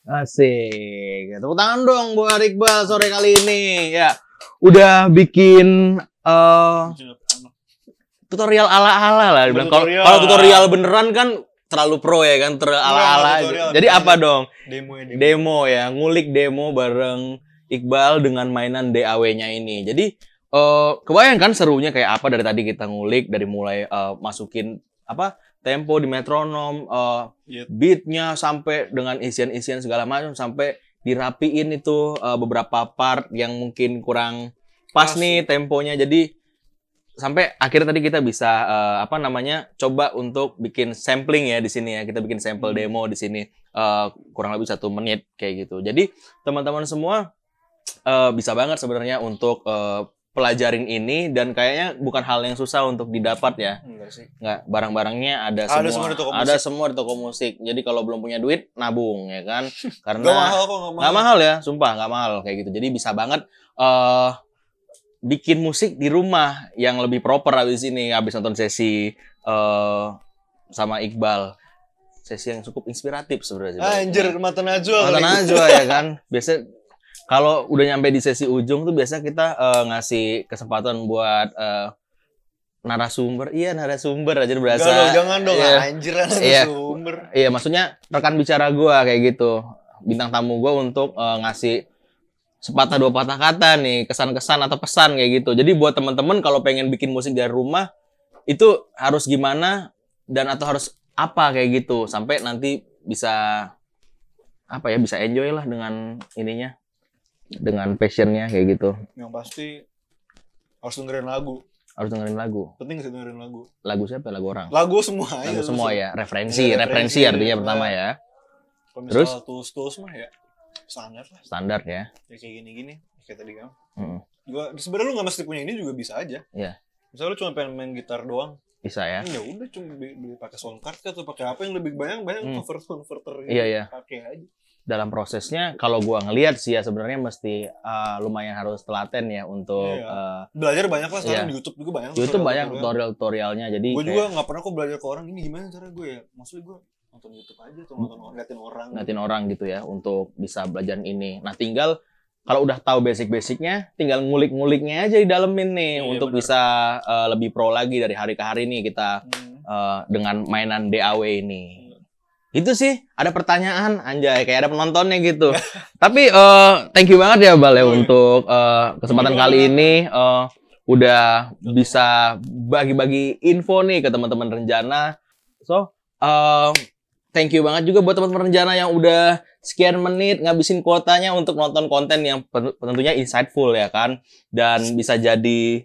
Speaker 2: Asik. Tepuk tangan dong buat Iqbal sore kali ini. Ya, udah bikin eh, tutorial ala-ala lah. Dibilang kalau
Speaker 1: Tutorial.
Speaker 2: kalau tutorial beneran kan terlalu pro ya kan, terlalu
Speaker 1: Iya, tutorial.
Speaker 2: ala-ala. Jadi apa dong?
Speaker 1: Demo ya demo.
Speaker 2: Demo ya, ngulik demo bareng Iqbal dengan mainan DAW-nya ini. Jadi eh kebayang kan serunya kayak apa dari tadi kita ngulik dari mulai eh, masukin apa tempo di metronom, eh,
Speaker 1: Iya.
Speaker 2: beatnya sampai dengan isian-isian segala macam sampai dirapiin itu eh, beberapa part yang mungkin kurang pas
Speaker 1: Pas.
Speaker 2: nih temponya jadi sampai akhirnya tadi kita bisa eh, apa namanya coba untuk bikin sampling ya di sini ya kita bikin sampel
Speaker 1: Hmm.
Speaker 2: demo di sini eh, kurang lebih satu menit kayak gitu jadi teman-teman semua eh, bisa banget sebenarnya untuk eh, pelajarin ini dan kayaknya bukan hal yang susah untuk didapat ya
Speaker 1: Enggak sih.
Speaker 2: nggak barang-barangnya ada, semua
Speaker 1: Ada semua di toko
Speaker 2: ada semua di toko musik jadi kalau belum punya duit nabung ya kan karena
Speaker 1: Gak mahal kok, gak mahal.
Speaker 2: nggak mahal ya sumpah nggak mahal kayak gitu jadi bisa banget eh bikin musik di rumah yang lebih proper habis ini habis nonton sesi eh sama Iqbal sesi yang cukup inspiratif sebenarnya sih, Bang.
Speaker 1: Anjir, mata najwa.
Speaker 2: Nonton aja ya kan. Biasa kalau udah nyampe di sesi ujung tuh biasanya kita eh, ngasih kesempatan buat eh, narasumber. Iya, narasumber aja
Speaker 1: Enggak
Speaker 2: berasa.
Speaker 1: dong, jangan dong.
Speaker 2: Iya.
Speaker 1: Anjir, ada
Speaker 2: Iya.
Speaker 1: sumber.
Speaker 2: Iya, maksudnya rekan bicara gua kayak gitu. Bintang tamu gua untuk eh, ngasih sepatah dua patah kata nih, kesan-kesan atau pesan kayak gitu. Jadi buat teman-teman kalau pengen bikin musik dari rumah itu harus gimana dan atau harus apa kayak gitu sampai nanti bisa apa ya bisa enjoy lah dengan ininya dengan passionnya kayak gitu
Speaker 1: Yang pasti harus dengerin lagu.
Speaker 2: harus dengerin lagu
Speaker 1: Penting sih dengerin lagu.
Speaker 2: lagu siapa ya? lagu orang
Speaker 1: Lagu semua.
Speaker 2: lagu semua ya referensi
Speaker 1: Iya,
Speaker 2: referensi
Speaker 1: referensi,
Speaker 2: artinya
Speaker 1: iya.
Speaker 2: pertama ya Terus?
Speaker 1: Terus? Terus terus mah ya standar lah.
Speaker 2: standar ya
Speaker 1: Ya kayak gini-gini. Kayak tadi kamu.
Speaker 2: Mm-mm.
Speaker 1: Gua sebenarnya lu nggak mesti punya ini juga bisa aja.
Speaker 2: Iya.
Speaker 1: Misalnya lu cuma pengen main gitar doang,
Speaker 2: bisa ya
Speaker 1: ya udah cuma beli, beli pakai sound card kah, atau pakai apa yang lebih banyak banyak
Speaker 2: Hmm.
Speaker 1: converter converter gitu
Speaker 2: Iya, iya.
Speaker 1: pakai aja
Speaker 2: dalam prosesnya kalau gua ngelihat sih ya sebenarnya mesti eh, lumayan harus telaten ya untuk
Speaker 1: Iya. belajar banyak lah sekarang
Speaker 2: Iya.
Speaker 1: di YouTube juga banyak
Speaker 2: eh, YouTube
Speaker 1: tutorial-
Speaker 2: banyak Iya.
Speaker 1: tutorial.
Speaker 2: tutorial-tutorialnya jadi
Speaker 1: gue juga
Speaker 2: kayak
Speaker 1: nggak pernah kok belajar ke orang ini gimana cara gue ya maksudnya gue nonton YouTube aja atau nonton
Speaker 2: Mm.
Speaker 1: ngeliatin orang
Speaker 2: ngatin orang gitu ya untuk bisa belajar ini. Nah, tinggal kalau udah tahu basic-basicnya, tinggal ngulik-nguliknya aja di dalemin nih
Speaker 1: Iya,
Speaker 2: untuk
Speaker 1: bener.
Speaker 2: bisa eh, lebih pro lagi dari hari ke hari nih kita
Speaker 1: Hmm.
Speaker 2: eh, dengan mainan DAW ini. Itu sih ada pertanyaan anjay kayak ada penontonnya gitu. Tapi eh, thank you banget ya Bal ya
Speaker 1: Oh, iya.
Speaker 2: untuk eh, kesempatan
Speaker 1: Iya,
Speaker 2: kali
Speaker 1: iya.
Speaker 2: ini eh, udah bisa bagi-bagi info nih ke teman-teman Renjana. So, eh, thank you banget juga buat teman-teman rencana yang udah sekian menit ngabisin kuotanya untuk nonton konten yang pen- tentunya insightful ya kan dan bisa jadi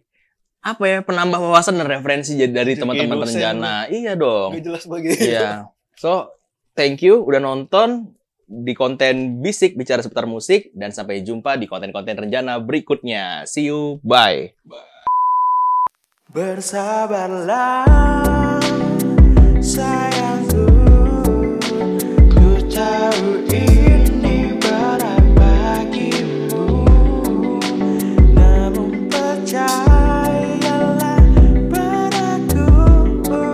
Speaker 2: apa ya penambah wawasan dan referensi jadi dari
Speaker 1: Jadi
Speaker 2: teman-teman
Speaker 1: dosen
Speaker 2: rencana iya dong
Speaker 1: Gak jelas bagi.
Speaker 2: iya so thank you udah nonton di konten bisik bicara seputar musik dan sampai jumpa di konten-konten rencana berikutnya see you bye
Speaker 3: Bersabarlah sayangku Ku tahu ini berat bagimu Namun percayalah padaku Ku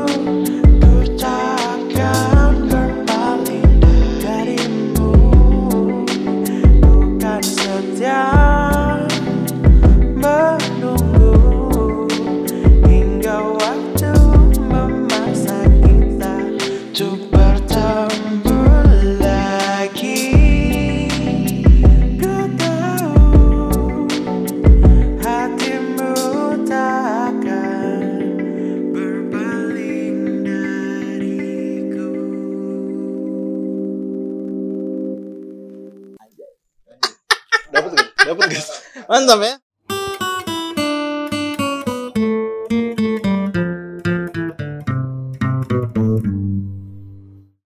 Speaker 3: takkan berpaling darimu Bukan setia menunggu Hingga waktu memaksa kita Untuk bertemu lagi Ku tahu Hatimu takkan Berpaling dariku
Speaker 1: Dapat gak? Dapat gak?
Speaker 4: Mantap ya.